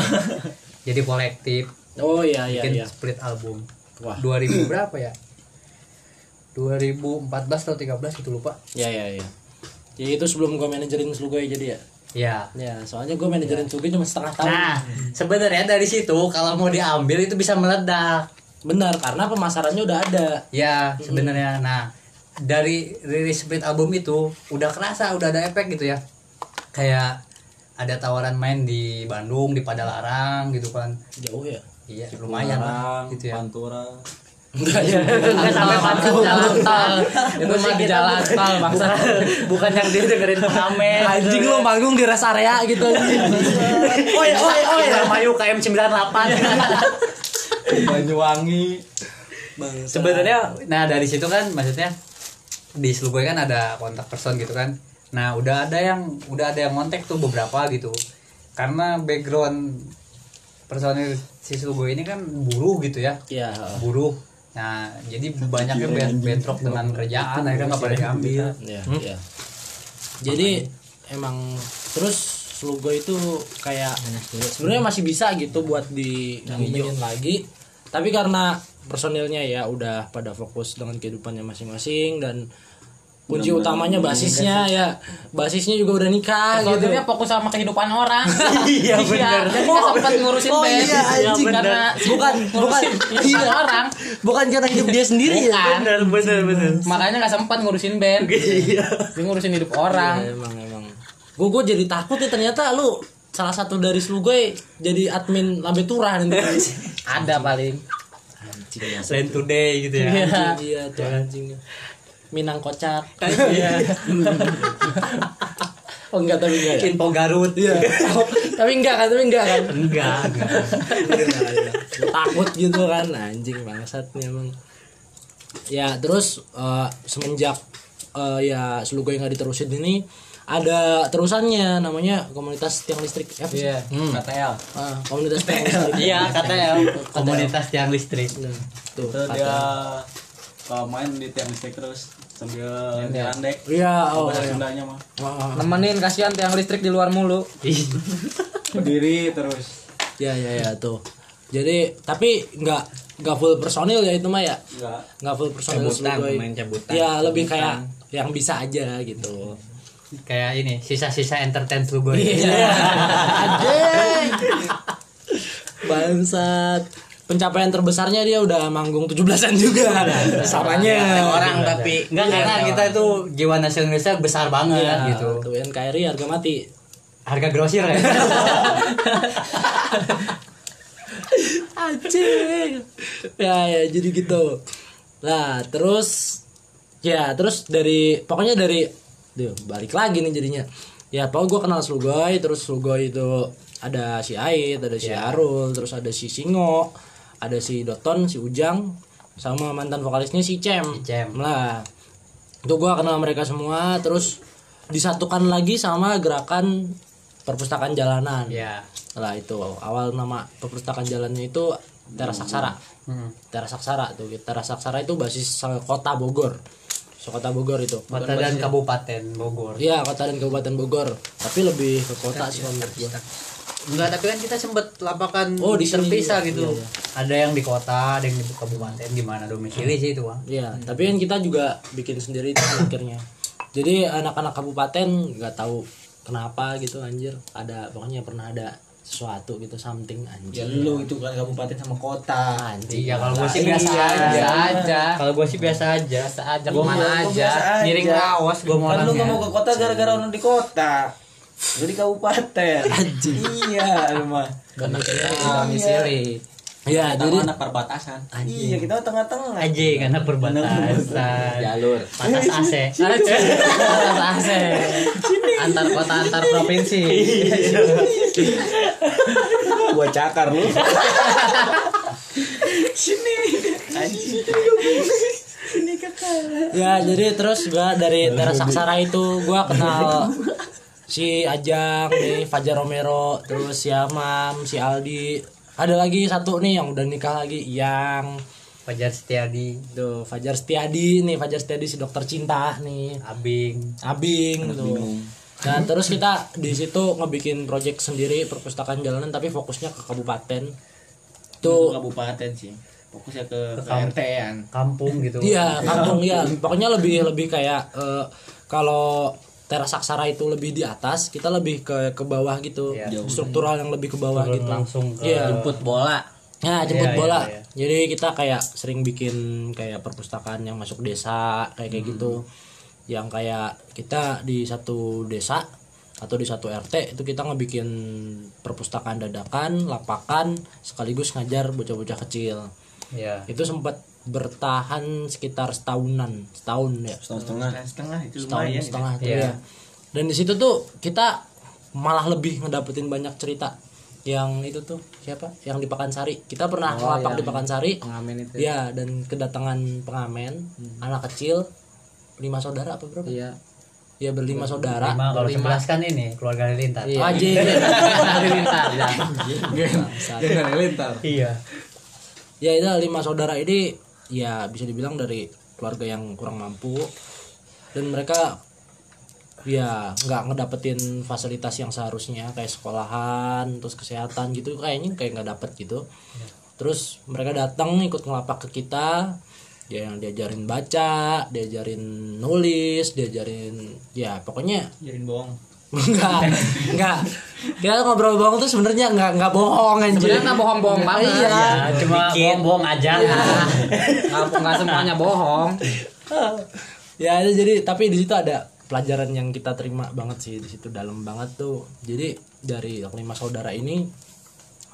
Speaker 2: jadi kolektif
Speaker 1: oh iya iya
Speaker 2: bikin
Speaker 1: iya
Speaker 2: split album.
Speaker 1: Wah.
Speaker 2: 2000 berapa ya? 2014 atau 13 gitu lupa.
Speaker 1: Ya ya ya. Ya itu sebelum gue manajerin Slugoy jadi ya.
Speaker 2: Ya.
Speaker 1: Ya soalnya gue manajerin Slugoy cuma setengah tahun.
Speaker 2: Nah, sebenarnya dari situ kalau mau diambil itu bisa meledak.
Speaker 1: Benar karena pemasarannya udah ada.
Speaker 2: Ya, sebenarnya. Nah, dari rilis split album itu udah kerasa, udah ada efek gitu ya. Kayak ada tawaran main di Bandung, di Padalarang gitu kan.
Speaker 1: Jauh ya.
Speaker 2: Iya, lumayan lah gitu ya.
Speaker 4: Pantura.
Speaker 2: Enggak sampai
Speaker 3: Pantul, jalan tol itu mah di jalan tol bangsa
Speaker 2: (laughs) Bukan yang dia dengerin pengamen.
Speaker 1: Anjing lu manggung di rest area gitu
Speaker 2: (laughs) Oh ya, oh ya, oh ya. Mayu KM (laughs) 98.
Speaker 4: Banyuwangi.
Speaker 2: sebenarnya nah dari situ kan maksudnya di Sluboy kan ada kontak person gitu kan nah udah ada yang udah ada yang kontak tuh beberapa gitu karena background personil si Sluboy ini kan buruh gitu ya
Speaker 1: Iya.
Speaker 2: buruh nah jadi banyaknya ben- bentrok dengan kerjaan akhirnya nggak pada diambil
Speaker 1: Iya iya. Jadi emang terus Slugoy itu kayak sebenarnya masih bisa gitu buat di dinyanyiin lagi. Tapi karena personilnya ya udah pada fokus dengan kehidupannya masing-masing dan kunci utamanya basisnya ya basisnya juga udah nikah gitu
Speaker 3: Soalnya fokus sama kehidupan
Speaker 1: (laughs)
Speaker 3: orang
Speaker 2: Iya, bener.
Speaker 3: Jadi nggak sempet ngurusin
Speaker 1: Oh,
Speaker 3: band
Speaker 1: iya, anjing.
Speaker 3: Karena (laughs)
Speaker 1: Bukan,
Speaker 3: ngurusin
Speaker 1: bukan.
Speaker 3: kehidupan
Speaker 1: Iya.
Speaker 3: orang
Speaker 1: bukan karena hidup dia sendiri ya
Speaker 2: bener bener bener
Speaker 3: Makanya nggak sempat ngurusin band
Speaker 1: iya.
Speaker 3: Dia ngurusin hidup orang
Speaker 1: emang emang gue gue jadi takut ya ternyata lu salah satu dari Slugoy jadi admin Lambe Turah nanti
Speaker 3: Ada paling Iya.
Speaker 1: anjing ya
Speaker 2: Selain today gitu ya
Speaker 1: (laughs) anjing dia Iya, tuh anjingnya Minang (laughs) kocak Iya. oh enggak tapi enggak ya
Speaker 2: info Garut
Speaker 1: Oh, tapi enggak kan tapi enggak kan
Speaker 2: enggak enggak
Speaker 1: (laughs) Iya, iya. takut gitu kan anjing bangsat nih emang ya terus eh, semenjak eh, ya selugoy nggak diterusin ini ada terusannya namanya komunitas tiang listrik apa sih?
Speaker 3: Iya
Speaker 6: KTL
Speaker 1: Ah, komunitas tiang listrik
Speaker 2: iya kata ya komunitas tiang listrik
Speaker 1: Nah, tuh
Speaker 6: itu dia uh, main di tiap listrik terus sambil nyerandek
Speaker 1: iya oh,
Speaker 6: bahasa
Speaker 1: iya.
Speaker 6: Sundanya mah
Speaker 1: Wah,
Speaker 3: Nemenin kasihan tiang listrik di luar mulu
Speaker 6: berdiri terus
Speaker 1: ya ya ya tuh jadi tapi nggak nggak full personil ya itu mah ya
Speaker 6: enggak
Speaker 1: nggak full personil
Speaker 5: Cabutan,
Speaker 1: Selugoy.
Speaker 5: main cabutan.
Speaker 1: ya lebih kayak yang bisa aja gitu
Speaker 2: kayak ini sisa-sisa entertain Sluboy
Speaker 5: Iya.
Speaker 1: Iya. Anjing. Bangsat. Pencapaian terbesarnya dia udah manggung 17-an juga. Iya. Samanya.
Speaker 5: Iya. Orang tapi iya,
Speaker 2: Enggak Iya. karena kita itu jiwa nasionalisnya besar banget
Speaker 1: Iya,
Speaker 2: gitu.
Speaker 1: Tuh NKRI harga mati.
Speaker 2: Harga
Speaker 5: (laughs)
Speaker 2: grosir ya.
Speaker 1: Anjing. Ya ya jadi gitu. Nah, terus ya terus dari pokoknya dari duh, balik lagi nih jadinya. Ya, pokoknya gue kenal Slugoy, terus Slugoy itu ada si Ait, ada si Arul, terus ada si Singo, ada si Doton, si Ujang, sama mantan vokalisnya si Cem.
Speaker 2: Cem.
Speaker 1: Lah. Itu gua kenal mereka semua, terus disatukan lagi sama gerakan perpustakaan jalanan.
Speaker 2: Iya.
Speaker 1: Lah itu awal nama perpustakaan jalannya itu Teras Saksara. Teras Saksara tuh. gitu. Teras Saksara itu basis eh, kota Bogor. So, kota Bogor itu. Bukan
Speaker 2: Kota dan
Speaker 1: basis-
Speaker 2: Kabupaten Bogor.
Speaker 1: Iya, kota dan Kabupaten Bogor. Tapi lebih ke kota sih kalau menurut gua.
Speaker 2: Enggak, tapi kan kita sempet lapakan
Speaker 1: Oh, di sini
Speaker 2: terpisah
Speaker 1: juga.
Speaker 2: gitu.
Speaker 1: Iya, iya.
Speaker 2: Ada yang di kota, ada yang di kabupaten, di mana domisili sih itu, Bang.
Speaker 1: Iya, tapi kan kita juga bikin sendiri itu kan akhirnya. Jadi anak-anak kabupaten nggak tahu kenapa gitu anjir. Ada pokoknya pernah ada sesuatu gitu something
Speaker 7: Ya
Speaker 1: anjir.
Speaker 7: lu itu kan kabupaten sama kota.
Speaker 1: Anjir.
Speaker 2: Iya, kalau gua sih
Speaker 7: Iya.
Speaker 2: biasa aja.
Speaker 3: aja.
Speaker 2: Kalau gua sih biasa aja.
Speaker 3: biasa aja
Speaker 2: Gua
Speaker 1: Iya,
Speaker 3: kemana
Speaker 2: mana
Speaker 7: gua biasa
Speaker 2: aja,
Speaker 7: aja.
Speaker 2: ngiring lawas gua mau
Speaker 7: Kan lu nggak
Speaker 2: orangnya.
Speaker 7: mau ke kota gara-gara orang di kota. Lu di kabupaten. Iya, lu mah.
Speaker 3: karena kita domisili
Speaker 1: Iya,
Speaker 6: Jadi
Speaker 1: jadi
Speaker 6: anak perbatasan.
Speaker 7: Iya, kita mah tengah-tengah.
Speaker 2: aja
Speaker 3: Iya,
Speaker 2: karena perbatasan.
Speaker 3: jalur
Speaker 2: Patas
Speaker 7: Eh,
Speaker 2: AC.
Speaker 3: Atas AC. antar kota antar provinsi
Speaker 7: Gua cakar lu.
Speaker 1: ya jadi terus gua dari teras Aksara itu gua kenal si Ajang nih Fajar Romero terus si Amam si Aldi ada lagi satu nih yang udah nikah lagi yang
Speaker 2: Fajar Setiadi,
Speaker 1: tuh Fajar Setiadi nih Fajar Setiadi si dokter cinta nih
Speaker 2: Abing.
Speaker 1: Abing tuh. Nah terus kita di situ ngebikin project sendiri perpustakaan jalanan tapi fokusnya ke kabupaten.
Speaker 7: Itu
Speaker 1: Tuh
Speaker 7: kabupaten sih. Fokusnya ke
Speaker 2: Ke kamp-
Speaker 7: KRT-an.
Speaker 2: Kampung gitu.
Speaker 1: iya kampung ya. Pokoknya lebih lebih kayak eh, kalau teras aksara itu lebih di atas, kita lebih ke ke bawah gitu.
Speaker 2: Iya.
Speaker 1: Struktural yang lebih ke bawah
Speaker 2: Turun
Speaker 1: gitu.
Speaker 2: langsung ke
Speaker 1: Iya.
Speaker 3: jemput bola
Speaker 1: Nah, jemput
Speaker 2: Iya, iya,
Speaker 1: bola.
Speaker 2: iya.
Speaker 1: Jadi kita kayak sering bikin kayak perpustakaan yang masuk desa kayak
Speaker 3: Hmm.
Speaker 1: kayak gitu. Yang kayak kita di satu desa atau di satu RT itu kita ngebikin perpustakaan dadakan, lapakan sekaligus ngajar bocah-bocah kecil.
Speaker 2: Iya.
Speaker 1: Itu sempat bertahan sekitar setahunan, setahun ya.
Speaker 4: setengah setengah
Speaker 7: Setengah itu
Speaker 1: Setahun
Speaker 7: lumayan. ya.
Speaker 1: setengah tuh
Speaker 2: Iya.
Speaker 1: ya. Dan di situ tuh kita malah lebih ngedapetin banyak cerita yang itu tuh siapa yang di Pekansari kita pernah ngelapak di Pekansari
Speaker 3: pengamen itu
Speaker 1: Ya, dan kedatangan pengamen, anak kecil, lima saudara apa berapa?
Speaker 3: iya
Speaker 1: Ya berlima saudara.
Speaker 2: Lima kalau sebelas kan ini keluarga Lilintar.
Speaker 3: Iya.
Speaker 1: Aja. (laughs)
Speaker 3: lintar ya
Speaker 2: Iya.
Speaker 1: ya itu lima saudara ini ya bisa dibilang dari keluarga yang kurang mampu dan mereka ya nggak ngedapetin fasilitas yang seharusnya kayak sekolahan terus kesehatan gitu kayaknya kayak nggak dapet gitu
Speaker 3: Ya.
Speaker 1: terus mereka datang ikut ngelapak ke kita ya yang diajarin baca diajarin nulis diajarin ya pokoknya (laughs)
Speaker 7: Jarin bohong.
Speaker 1: Enggak, enggak. Kita ngobrol bohong tuh sebenarnya enggak enggak bohong anjir.
Speaker 3: sebenarnya nggak bohong bohong banget
Speaker 1: Iya.
Speaker 2: Ya, cuma bohong-bohong aja.
Speaker 3: nggak nggak semuanya bohong
Speaker 7: Iya,
Speaker 1: (laughs) Ya itu jadi tapi di situ ada pelajaran yang kita terima banget sih di situ dalam banget tuh. Jadi dari lima saudara ini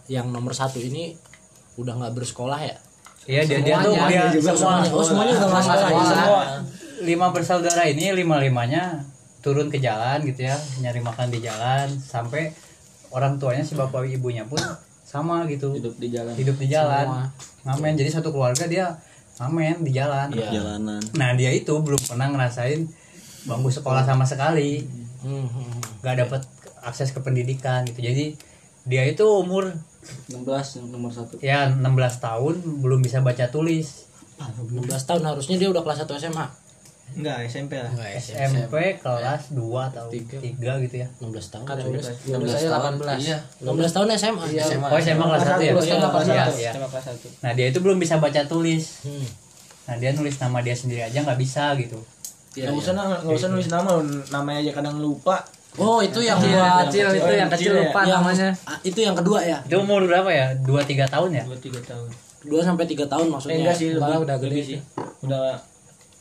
Speaker 1: yang nomor satu ini udah nggak bersekolah ya.
Speaker 2: Iya, dia dia tuh dia
Speaker 3: Semuanya.
Speaker 7: juga
Speaker 2: semua
Speaker 1: Oh semuanya udah nggak
Speaker 3: Semua
Speaker 1: sekolah. ya?
Speaker 3: sekolah.
Speaker 2: lima bersaudara ini lima-limanya turun ke jalan gitu ya, nyari makan di jalan sampai orang tuanya si bapak ibunya pun sama gitu.
Speaker 6: Hidup di jalan.
Speaker 2: Hidup di jalan. Ngamen. Jadi satu keluarga dia ngamen di jalan.
Speaker 1: Iya.
Speaker 4: jalanan
Speaker 2: Nah, dia itu belum pernah ngerasain bangku sekolah sama sekali.
Speaker 1: Hmm, hmm, hmm.
Speaker 2: nggak dapat akses ke pendidikan gitu jadi dia itu umur
Speaker 6: 16 yang nomor 1.
Speaker 2: ya 16 tahun belum bisa baca tulis
Speaker 1: 16 tahun harusnya dia udah kelas 1 SMA.
Speaker 7: Enggak, SMP lah.
Speaker 2: SMP kelas 2 atau 3 gitu ya
Speaker 1: 16 tahun.
Speaker 3: Kan
Speaker 1: coy.
Speaker 3: tulis, tulis saya 18
Speaker 5: Iya.
Speaker 1: 16 tahun SMA.
Speaker 7: Iya.
Speaker 2: SMA. oh SMA kelas 1 ya Iya, iya.
Speaker 7: Sama kelas satu.
Speaker 2: nah dia itu belum bisa baca tulis
Speaker 1: Hmm.
Speaker 2: nah dia nulis nama dia sendiri aja nggak bisa gitu
Speaker 1: Iya,
Speaker 7: Nggak
Speaker 1: iya.
Speaker 7: usah na- nggak usah nulis nama, lu. namanya aja kadang lupa.
Speaker 1: Oh itu yang
Speaker 3: Kecil,
Speaker 1: buat
Speaker 3: kecil itu yang kecil
Speaker 7: iya, Kecil ya?
Speaker 3: lupa
Speaker 1: yang-
Speaker 3: namanya
Speaker 1: Ah, itu yang kedua ya.
Speaker 2: itu umur berapa ya 2-3 tahun
Speaker 7: (laughs)
Speaker 2: ya
Speaker 7: 2 3 tahun.
Speaker 1: 2 sampai 3 tahun maksudnya.
Speaker 7: Eh, enggak
Speaker 3: Iya.
Speaker 7: sih,
Speaker 1: Malah
Speaker 7: lebih,
Speaker 1: udah gede
Speaker 7: lebih sih. Udah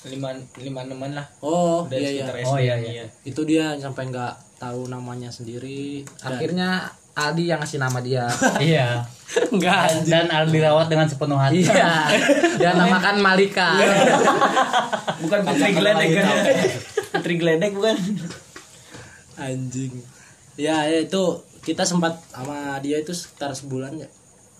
Speaker 7: 5 5 6 lah.
Speaker 1: Oh,
Speaker 7: Udah
Speaker 1: iya iya.
Speaker 7: sekitar
Speaker 2: Oh,
Speaker 7: SD,
Speaker 2: iya, iya.
Speaker 1: Itu dia sampai nggak tahu namanya sendiri.
Speaker 7: Iya.
Speaker 3: akhirnya Aldi yang ngasih nama dia (laughs)
Speaker 2: iya
Speaker 1: enggak.
Speaker 2: dan Aldi rawat dengan sepenuh hati
Speaker 3: iya dia namakan Malika
Speaker 7: Iya. Bukan Putri Gledek kan. Putri Gledek bukan.
Speaker 1: Anjing. Ya, ya, itu kita sempat sama dia itu sekitar sebulan ya.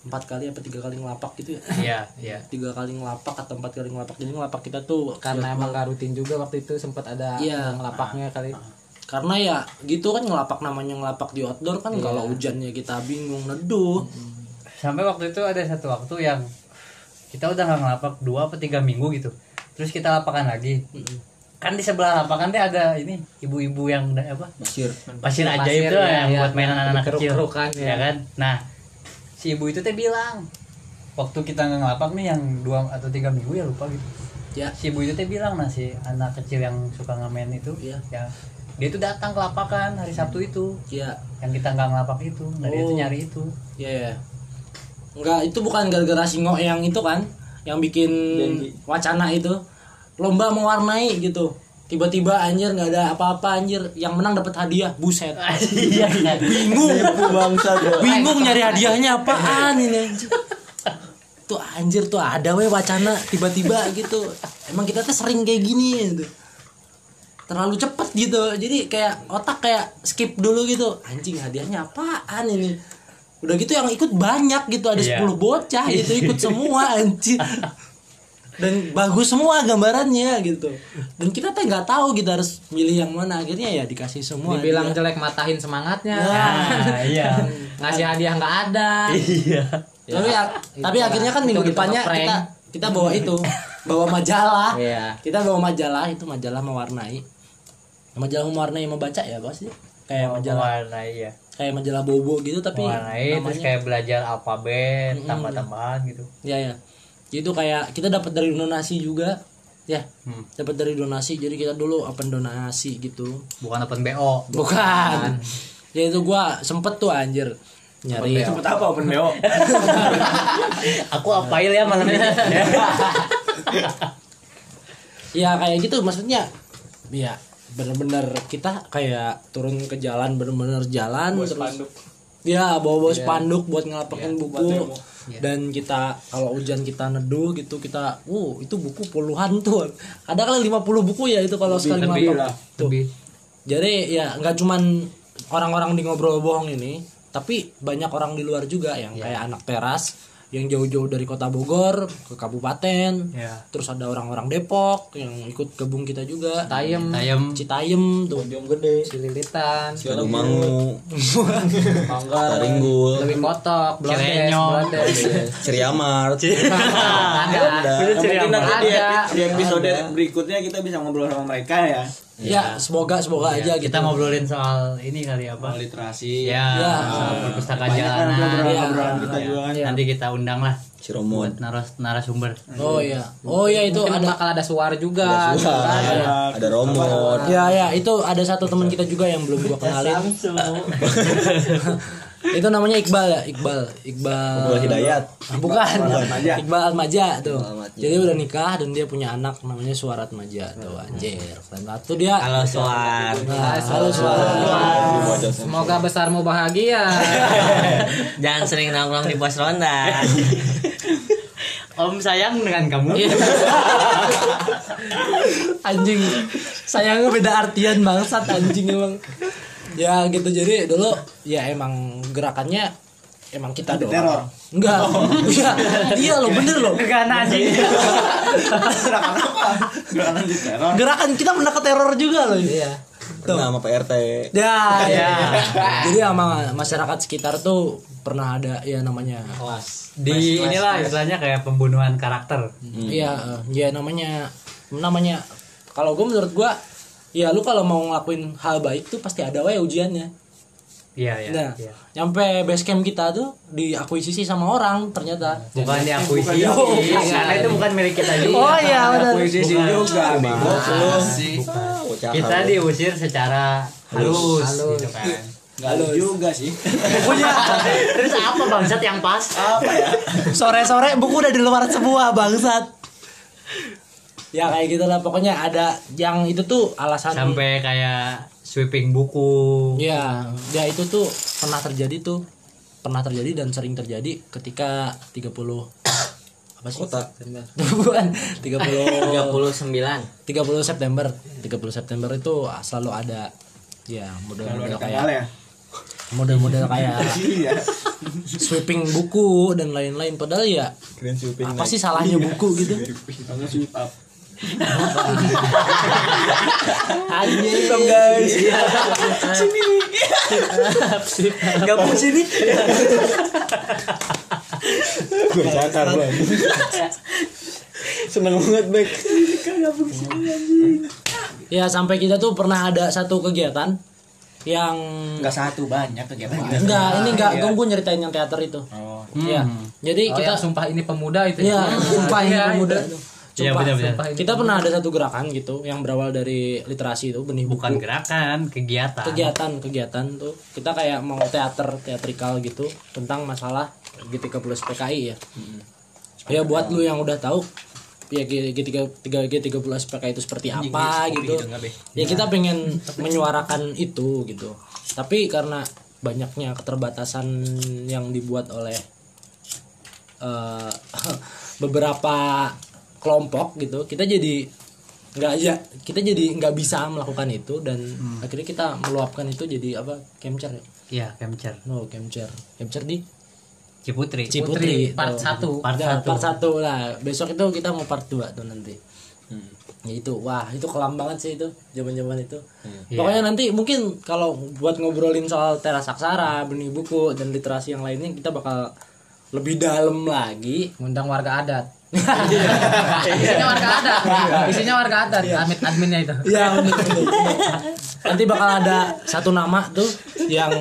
Speaker 1: Empat kali apa tiga kali ngelapak gitu ya.
Speaker 2: iya iya
Speaker 1: Tiga kali ngelapak atau empat kali ngelapak. Jadi ngelapak kita tuh kan,
Speaker 3: karena emang gak rutin juga waktu itu sempat ada
Speaker 1: Iya.
Speaker 3: yang lapaknya kali
Speaker 7: Ah,
Speaker 1: karena ya gitu kan ngelapak namanya ngelapak di outdoor kan kalau hujannya kita bingung neduh.
Speaker 2: sampai waktu itu ada satu waktu yang kita udah nggak ngelapak dua apa tiga minggu gitu terus kita lapakan lagi kan di sebelah lapangan teh ada ini ibu-ibu yang da- apa
Speaker 7: Pasir.
Speaker 2: pasir nah, ajaib
Speaker 3: Pasir,
Speaker 2: tuh
Speaker 3: iya,
Speaker 2: yang
Speaker 3: iya.
Speaker 2: buat mainan anak-anak kecil
Speaker 1: Keruk-kerukan,
Speaker 2: ya.
Speaker 1: iya.
Speaker 2: kan nah si ibu itu teh bilang waktu kita nggak ngelapak nih yang dua atau tiga minggu ya lupa gitu
Speaker 1: Ya.
Speaker 2: si ibu itu teh bilang nah si anak kecil yang suka ngamen itu
Speaker 1: Iya.
Speaker 2: ya dia itu datang ke lapangan hari sabtu itu
Speaker 1: Iya,
Speaker 2: yang kita nggak ngelapak itu nah dia itu
Speaker 1: Oh.
Speaker 2: nyari itu
Speaker 1: iya, iya. Enggak, itu bukan gara-gara singo yang itu kan, yang bikin wacana itu. Lomba mewarnai gitu. Tiba-tiba anjir nggak ada apa-apa anjir, yang menang dapat hadiah, buset.
Speaker 2: iya kan?
Speaker 1: Eh,
Speaker 4: (laughs)
Speaker 1: Bingung,
Speaker 7: bangsa gua.
Speaker 1: bingung nyari hadiahnya apaan ini anjir. Tuh anjir tuh ada we wacana tiba-tiba gitu. Emang kita tuh sering kayak gini gitu. Terlalu cepet gitu. Jadi kayak otak kayak skip dulu gitu. Anjing hadiahnya apaan ini? Udah gitu yang ikut banyak gitu ada
Speaker 2: Iya.
Speaker 1: 10 bocah gitu ikut semua anjir. Dan bagus semua gambarannya gitu. Dan kita tuh nggak tahu gitu harus milih yang mana. Akhirnya ya dikasih semua.
Speaker 3: Dibilang
Speaker 7: iya.
Speaker 1: hadiah.
Speaker 3: jelek matahin semangatnya.
Speaker 2: nah, (laughs) iya
Speaker 3: Ngasih hadiah nggak ada.
Speaker 2: iya
Speaker 1: tapi tapi
Speaker 3: itulah.
Speaker 1: akhirnya kan
Speaker 3: Itu
Speaker 1: minggu
Speaker 3: kita
Speaker 1: depannya
Speaker 3: nge-prank.
Speaker 1: kita kita bawa itu bawa majalah
Speaker 3: Iya.
Speaker 1: kita bawa majalah itu majalah mewarnai majalah mewarnai membaca ya apa sih kayak majalah
Speaker 2: mewarnai ya
Speaker 1: kayak majalah bobo gitu tapi
Speaker 2: mewarnai terus
Speaker 1: namanya
Speaker 2: kayak belajar alfabet
Speaker 1: Mm-mm.
Speaker 2: tambah-tambahan gitu
Speaker 1: ya ya itu kayak kita dapat dari donasi juga ya
Speaker 2: Hmm.
Speaker 1: dapat dari donasi jadi kita dulu open donasi gitu
Speaker 2: bukan open bo
Speaker 1: bukan ya itu gua sempet tuh anjir nyari
Speaker 7: Sempet apa open BO?
Speaker 2: aku apail ya malam ini
Speaker 1: ya kayak gitu maksudnya ya bener-bener kita kayak turun ke jalan bener-bener jalan terus ya bawa bawa spanduk buat ngelapakin buku dan kita kalau hujan kita neduh gitu kita uh itu buku puluhan tuh ada kali 50 buku ya itu kalau sekali ngelapak tuh jadi ya nggak cuman orang-orang di ngobrol bohong ini tapi banyak orang di luar juga yang kayak anak teras yang jauh-jauh dari kota Bogor ke kabupaten
Speaker 2: ya
Speaker 1: terus ada orang-orang Depok yang ikut gabung kita juga
Speaker 3: Tayem,
Speaker 2: ayam
Speaker 1: Citayem tuh
Speaker 3: cililitan,
Speaker 4: Kadumangu Taringgul
Speaker 3: lebih kotok, blondes,
Speaker 2: Cirenyong.
Speaker 3: blondes.
Speaker 4: Ciriamar
Speaker 1: (laughs) Nah,
Speaker 3: Ada.
Speaker 2: Udah ceria
Speaker 7: Mungkin
Speaker 2: banget.
Speaker 7: nanti di,
Speaker 3: Ada.
Speaker 7: di episode berikutnya kita bisa ngobrol sama mereka ya.
Speaker 1: ya semoga semoga aja
Speaker 2: Ya, kita
Speaker 1: gitu.
Speaker 2: ngobrolin soal ini kali apa
Speaker 7: Literasi.
Speaker 2: ya,
Speaker 1: Ya.
Speaker 2: soal perpustakaan
Speaker 7: Banyak kan
Speaker 2: jalanan Iya.
Speaker 7: obrolan-obrolan kita juga kan.
Speaker 2: nanti kita undang lah
Speaker 4: Ciromon
Speaker 2: buat naras narasumber
Speaker 1: oh iya oh iya itu
Speaker 3: Mungkin
Speaker 1: ada
Speaker 3: bakal ada suar juga.
Speaker 4: Wah,
Speaker 1: Ada.
Speaker 4: Ada Romon
Speaker 1: ya ya itu ada satu teman kita juga yang belum gua kenalin (laughs) itu namanya Iqbal ya Iqbal Iqbal
Speaker 4: Iqbal Hidayat.
Speaker 1: Ah, bukan
Speaker 7: Atmaja.
Speaker 1: Iqbal Atmaja tuh
Speaker 4: Atmaja.
Speaker 1: jadi udah nikah dan dia punya anak namanya Suarat Maja tuh anjir keren banget tuh dia
Speaker 5: Halo Soar.
Speaker 1: Nah, halo Suarat
Speaker 3: Semoga besarmu bahagia.
Speaker 5: Jangan sering nongkrong di pos ronda.
Speaker 2: om sayang dengan kamu
Speaker 1: anjing sayangnya beda artian bangsat anjing emang ya gitu jadi dulu ya emang gerakannya emang kita doang
Speaker 7: teror.
Speaker 1: enggak iya iya lo bener lo
Speaker 2: gak anjing
Speaker 7: Gerakan di teror.
Speaker 1: gerakan kita pernah ke teror juga loh
Speaker 3: Iya.
Speaker 4: Pernah sama PRT
Speaker 1: ya, ya. jadi sama masyarakat sekitar tuh pernah ada ya namanya
Speaker 2: di inilah istilahnya kayak pembunuhan karakter
Speaker 1: Iya, eh, ya namanya namanya kalau gue menurut gue ya lu kalau mau ngelakuin hal baik tuh pasti ada wae ujiannya
Speaker 2: iya iya
Speaker 1: Nah,
Speaker 2: iya.
Speaker 1: nyampe base camp kita tuh diakuisisi sama orang ternyata.
Speaker 2: bukan
Speaker 1: Bukan
Speaker 2: diakuisisi
Speaker 1: diakuisisi.
Speaker 2: karena itu bukan milik kita juga
Speaker 1: Oh, Iya.
Speaker 7: Puisi sih juga.
Speaker 2: kita diusir secara halus, gitu kan
Speaker 7: Enggak juga sih.
Speaker 2: punya terus apa bangsat yang pas
Speaker 1: Sore-sore buku udah di luar semua bangsat. Ya kayak gitu lah pokoknya ada yang itu tuh alasan
Speaker 2: sampai kayak sweeping buku
Speaker 1: Ya, ya itu tuh pernah terjadi tuh pernah terjadi dan sering terjadi ketika 30 apa sih?
Speaker 4: Kota.
Speaker 1: Bukan 30
Speaker 5: 39.
Speaker 1: 30 September. 30 September itu selalu ada ya model-model
Speaker 7: Tanggal
Speaker 1: kayak
Speaker 7: ya.
Speaker 1: model-model kayak
Speaker 7: Iya.
Speaker 1: sweeping buku dan lain-lain padahal ya
Speaker 4: Green Shopping
Speaker 1: apa sih salahnya buku gitu
Speaker 7: Tanggal sweep up.
Speaker 1: anjing
Speaker 7: guys.
Speaker 2: gabung sini
Speaker 4: Gue cakar bang Seneng banget Bek
Speaker 1: ya sampai kita tuh pernah ada satu kegiatan yang
Speaker 7: Enggak satu banyak kegiatan kita.
Speaker 1: enggak ini enggak gue gue nyeritain yang teater itu
Speaker 7: Oh.
Speaker 1: Iya. jadi
Speaker 5: Oh,
Speaker 1: kita
Speaker 5: yang sumpah ini pemuda itu
Speaker 1: Iya,
Speaker 3: ya.
Speaker 1: sumpah ini pemuda.
Speaker 2: Iya,
Speaker 1: Sumpah,
Speaker 2: benar-benar.
Speaker 1: sumpah ini. Kita pernah ada satu gerakan gitu yang berawal dari literasi itu benih buku.
Speaker 2: bukan gerakan kegiatan
Speaker 1: kegiatan kegiatan tuh kita kayak mau teater teatrikal gitu tentang masalah G30 PKI ya. Ya buat lu yang udah tahu ya G3 G30 PKI itu seperti apa
Speaker 2: kopi
Speaker 1: gitu.
Speaker 2: gitu nggak, Be?
Speaker 1: Ya kita pengen menyuarakan itu gitu. Tapi karena banyaknya keterbatasan yang dibuat oleh eh, (laughs) beberapa kelompok gitu kita jadi nggak
Speaker 2: Iya.
Speaker 1: ya kita jadi nggak bisa melakukan itu dan
Speaker 2: Hmm.
Speaker 1: akhirnya kita meluapkan itu jadi apa capture ya
Speaker 2: iya kemcer
Speaker 1: no capture capture di
Speaker 2: Ciputri
Speaker 1: Ciputri
Speaker 3: part
Speaker 1: tuh.
Speaker 3: satu.
Speaker 2: Part
Speaker 1: Nah,
Speaker 2: satu.
Speaker 1: part satu lah besok itu kita mau part 2 tuh nanti
Speaker 2: Hmm.
Speaker 1: ya itu wah itu kelam banget sih itu zaman zaman itu
Speaker 2: Hmm.
Speaker 3: Iya.
Speaker 1: pokoknya nanti mungkin kalau buat ngobrolin soal teras aksara benih buku dan literasi yang lainnya kita bakal lebih dalam lagi
Speaker 3: Ngundang warga adat. Isinya warga adat. Isinya warga adat. Admin adminnya itu.
Speaker 1: Iya bener, bener, bener. Nanti bakal ada satu nama tuh yang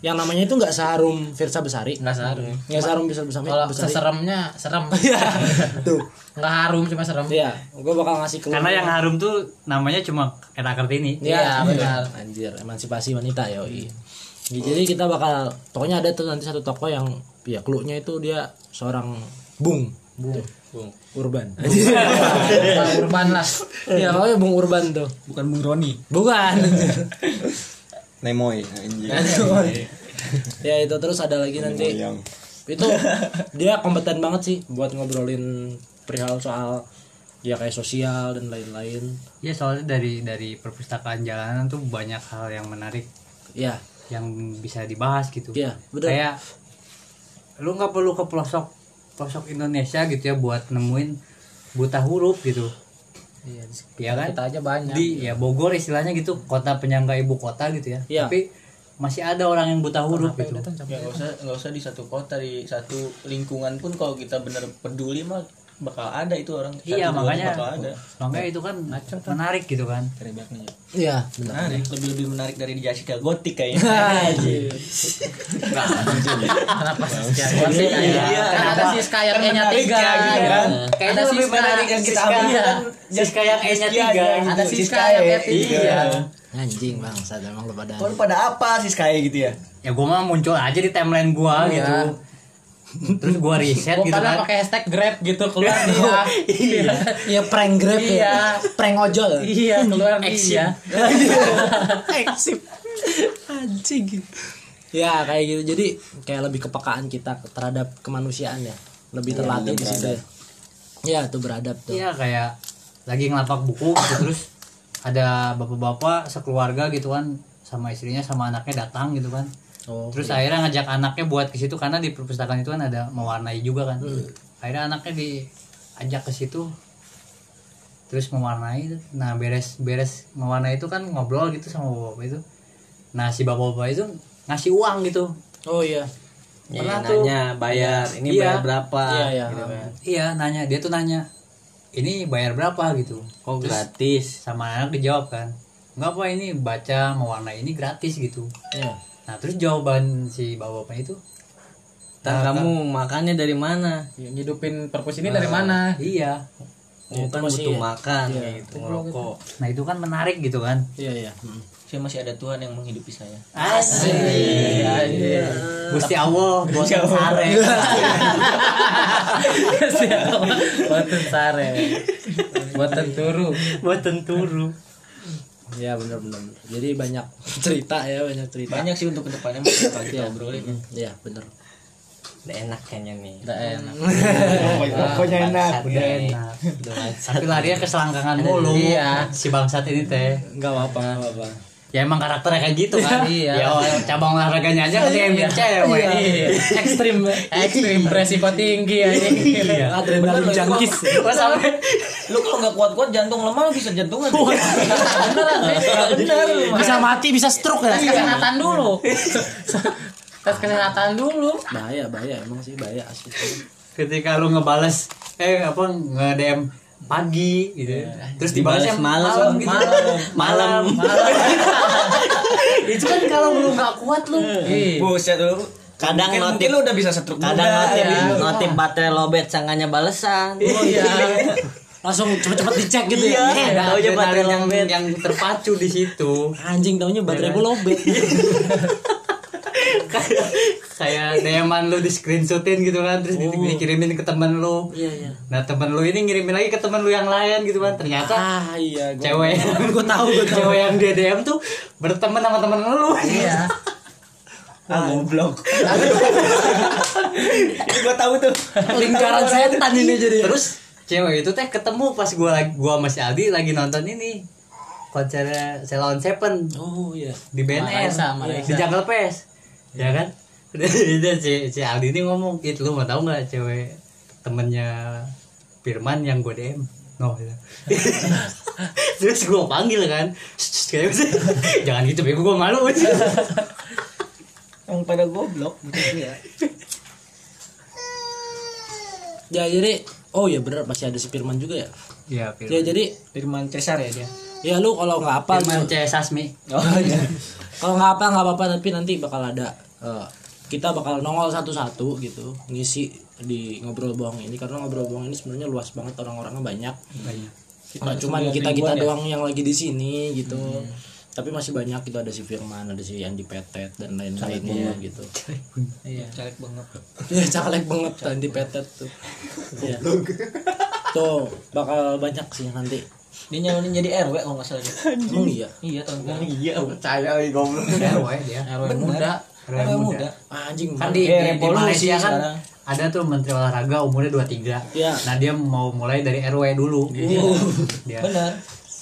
Speaker 1: yang namanya itu nggak seharum Firsa Besari. Nah,
Speaker 3: Enggak seharum.
Speaker 1: Nggak seharum Firsa Besari.
Speaker 3: Kalau
Speaker 1: Besari.
Speaker 3: seseremnya serem.
Speaker 1: Iya. Tuh.
Speaker 3: Enggak harum cuma serem.
Speaker 1: Iya, gue bakal ngasih keluar.
Speaker 2: karena yang harum tuh namanya cuma era kartini
Speaker 1: Iya,
Speaker 3: Iya, benar.
Speaker 1: Anjir, emansipasi wanita ya. Jadi kita bakal pokoknya ada tuh nanti satu toko yang ya klunya itu dia seorang bung, bung, bung urban.
Speaker 3: Orang Urban lah.
Speaker 1: (laughs) Iya, pokoknya bung urban tuh.
Speaker 7: Bukan Bung Roni.
Speaker 1: Bukan.
Speaker 4: Nemoy anjing.
Speaker 1: ya itu terus ada lagi nanti.
Speaker 4: Moyang.
Speaker 1: itu dia kompeten banget sih buat ngobrolin perihal soal ya kayak sosial dan lain-lain
Speaker 2: ya soalnya dari dari perpustakaan jalanan tuh banyak hal yang menarik
Speaker 1: ya
Speaker 2: yang bisa dibahas gitu
Speaker 1: Iya, betul.
Speaker 2: kayak lu nggak perlu ke pelosok pelosok Indonesia gitu ya buat nemuin buta huruf gitu
Speaker 3: Iya,
Speaker 2: ya kan
Speaker 3: Kita aja banyak.
Speaker 2: di ya Bogor istilahnya gitu kota penyangga ibu kota gitu ya
Speaker 1: Iya.
Speaker 2: tapi masih ada orang yang buta huruf gitu
Speaker 3: Datang,
Speaker 8: ya nggak usah nggak usah di satu kota di satu lingkungan pun kalau kita bener peduli mah bakal ada itu orang Satu
Speaker 2: iya
Speaker 8: dua
Speaker 2: makanya
Speaker 8: bakal ada
Speaker 2: makanya itu kan menarik gitu kan
Speaker 8: dari belakangnya
Speaker 1: iya benar
Speaker 8: menarik lebih lebih Nah, menarik dari di Jessica Gotik kayaknya
Speaker 3: Kenapa sih Iya, kan ada sih kayak nya tiga gitu kan. Kayak ada sih menarik yang kita ambil kan
Speaker 2: Siska yang S-nya tiga
Speaker 8: gitu.
Speaker 3: Ada sih kayak nya
Speaker 8: Iya.
Speaker 3: tiga.
Speaker 2: Iya.
Speaker 1: anjing bangsa emang lu pada
Speaker 7: Kau pada apa sih kayak gitu ya?
Speaker 2: ya gua mah muncul aja di timeline
Speaker 3: Iya.
Speaker 2: gua gitu terus gua riset
Speaker 3: Gua
Speaker 2: gitu kan
Speaker 3: kadang pakai hashtag grab gitu keluar dia. Iya.
Speaker 1: iya prank grab
Speaker 3: Iya.
Speaker 1: ya prank ojol
Speaker 3: Iya, keluar dia.
Speaker 1: anjing ya kayak gitu jadi kayak lebih kepekaan kita terhadap kemanusiaan ya lebih terlatih di situ ya Iya tuh beradab tuh
Speaker 2: iya kayak lagi ngelapak buku gitu, terus ada bapak-bapak sekeluarga gitu kan sama istrinya sama anaknya datang gitu kan
Speaker 1: oh
Speaker 2: terus akhirnya ngajak anaknya buat ke situ karena di perpustakaan itu kan ada mewarnai juga kan akhirnya anaknya diajak ke situ terus mewarnai nah beres beres mewarnai itu kan ngobrol gitu sama bapak itu nah si bapak bapak itu ngasih uang gitu
Speaker 1: oh iya
Speaker 5: Iya,
Speaker 2: Pernah tuh.
Speaker 5: nanya bayar ini
Speaker 2: Iya.
Speaker 5: bayar berapa
Speaker 1: Iya, iya.
Speaker 5: gitu kan.
Speaker 2: iya nanya dia tuh nanya ini bayar berapa gitu
Speaker 5: kok
Speaker 7: Oh,
Speaker 2: Terus
Speaker 5: gratis
Speaker 2: sama anak dijawab kan nggak apa ini baca mewarnai ini gratis gitu
Speaker 1: iya
Speaker 2: nah terus jawaban si bapak bapak itu
Speaker 5: Ntar
Speaker 1: Nah,
Speaker 5: kamu makannya dari mana
Speaker 3: Ngidupin perpus ini dari
Speaker 2: (laughs)
Speaker 3: mana?
Speaker 2: iya
Speaker 5: kamu
Speaker 1: itu
Speaker 5: kan
Speaker 1: masih-
Speaker 5: butuh makan
Speaker 1: iya.
Speaker 5: gitu ngerokok
Speaker 2: nah itu kan menarik gitu kan
Speaker 1: iya iya Mm.
Speaker 8: saya masih ada Tuhan yang menghidupi saya
Speaker 2: Asik. Iya, Gusti Allah, boten sare.
Speaker 3: Boten sare. Boten turu.
Speaker 2: Boten turu.
Speaker 1: Iya benar-benar. Jadi banyak cerita ya, banyak cerita.
Speaker 8: banyak sih untuk kedepannya masih bakal kita obrolin
Speaker 1: Iya, benar.
Speaker 5: Udah enak kayaknya nih
Speaker 3: Udah enak.
Speaker 7: Pokoknya enak.
Speaker 2: iya,
Speaker 5: udah enak
Speaker 2: Tapi larinya ke selangkangan mulu.
Speaker 3: Iya.
Speaker 2: Si bangsat ini teh.
Speaker 1: Enggak apa-apa, enggak apa-apa.
Speaker 2: Ya emang karakternya kayak gitu kan.
Speaker 3: Iya.
Speaker 2: Ya cabang olahraganya aja kan yang bikin cewek.
Speaker 3: Ekstrim, ekstrim resiko tinggi ya ini.
Speaker 2: Iya.
Speaker 1: Adrenalin junkies.
Speaker 2: Wah sampai
Speaker 8: lu kalau nggak kuat-kuat jantung lemah bisa jantungan beneran bener
Speaker 1: Bisa mati, bisa stroke
Speaker 3: Tes
Speaker 1: ya.
Speaker 3: kesehatan dulu. Tes kesehatan dulu.
Speaker 1: Bahaya, bahaya emang sih bahaya asli.
Speaker 2: ketika lu ngebales eh apa nge-DM pagi gitu terus
Speaker 8: Dibalas
Speaker 2: dibalasnya
Speaker 8: malam,
Speaker 2: malam gitu malam itu kan kalau lu nggak kuat lu
Speaker 3: Iya.
Speaker 7: Buset lu.
Speaker 5: Kadang
Speaker 7: mungkin,
Speaker 5: notif.
Speaker 7: mungkin lu udah bisa setruk
Speaker 5: kadang
Speaker 7: muda,
Speaker 5: notif
Speaker 7: ya. Iya.
Speaker 5: notif baterai lobet sangkanya balesan Oh,
Speaker 1: langsung cepet-cepet dicek gitu
Speaker 5: Iya.
Speaker 1: ya Eh,
Speaker 2: Nah,
Speaker 5: Taunya baterai
Speaker 2: adrenalin yang,
Speaker 5: lobet.
Speaker 2: yang terpacu di situ
Speaker 1: anjing taunya baterai gue lobet
Speaker 5: Iya,
Speaker 2: kayak kayak DM-an lu di screenshotin gitu kan terus di- dikirimin ke temen lu
Speaker 1: iya iya
Speaker 2: nah temen lu ini ngirimin lagi ke temen lu yang lain gitu kan ternyata
Speaker 1: ah iya gua-
Speaker 2: cewek gue tahu (laughs) cewek yang dia DM tuh berteman sama temen lu iya
Speaker 7: Ah, goblok.
Speaker 1: lingkaran setan ini
Speaker 2: gitu.
Speaker 1: jadi
Speaker 2: terus cewek itu teh ketemu pas gua lagi- gua sama si Aldi lagi nonton ini konsernya Selon Seven
Speaker 1: oh iya
Speaker 2: di BNS
Speaker 3: Marisa, Marisa.
Speaker 2: di Jungle Pes ya kan (laughs) dan si, si Aldi ini ngomong gitu lu mau tahu nggak cewek temennya Firman yang gue DM no gitu. terus gue panggil kan kayak gitu. (laughs) jangan gitu bego gue malu
Speaker 7: Yang pada goblok gitu ya.
Speaker 1: ya jadi oh iya benar masih ada si Firman juga ya
Speaker 2: ya
Speaker 1: ya jadi
Speaker 7: Firman Cesar ya dia.
Speaker 1: ya lu kalau nggak apa
Speaker 2: Firman C Sasmi
Speaker 7: Oh iya.
Speaker 1: kalau nggak apa nggak apa-apa tapi nanti bakal ada eh, kita bakal nongol satu-satu gitu ngisi di ngobrol bohong ini karena ngobrol bohong ini sebenarnya luas banget orang-orangnya banyak
Speaker 2: banyak
Speaker 1: nggak cuma kita kita
Speaker 7: ya.
Speaker 1: doang yang lagi di sini gitu tapi masih banyak gitu ada si Firman ada si Andi Petet dan lain-lainnya gitu (laughs)
Speaker 3: Iya.
Speaker 1: Iya caleg banget Andi Petet tuh Iya. tuh bakal banyak sih nanti
Speaker 3: Dia nyalonin jadi RW kalau nggak salah dia.
Speaker 1: emang iya
Speaker 3: Iya tahun kemarin.
Speaker 2: RW dia
Speaker 3: RW muda.
Speaker 2: RW muda
Speaker 1: Ah, anjing
Speaker 2: kan di,
Speaker 7: Eh,
Speaker 2: di- di
Speaker 7: revolusi
Speaker 2: Malaysia kan
Speaker 7: sekarang.
Speaker 2: ada tuh menteri olahraga umurnya 23
Speaker 1: Iya.
Speaker 2: nah dia mau mulai dari RW dulu dia
Speaker 3: Benar.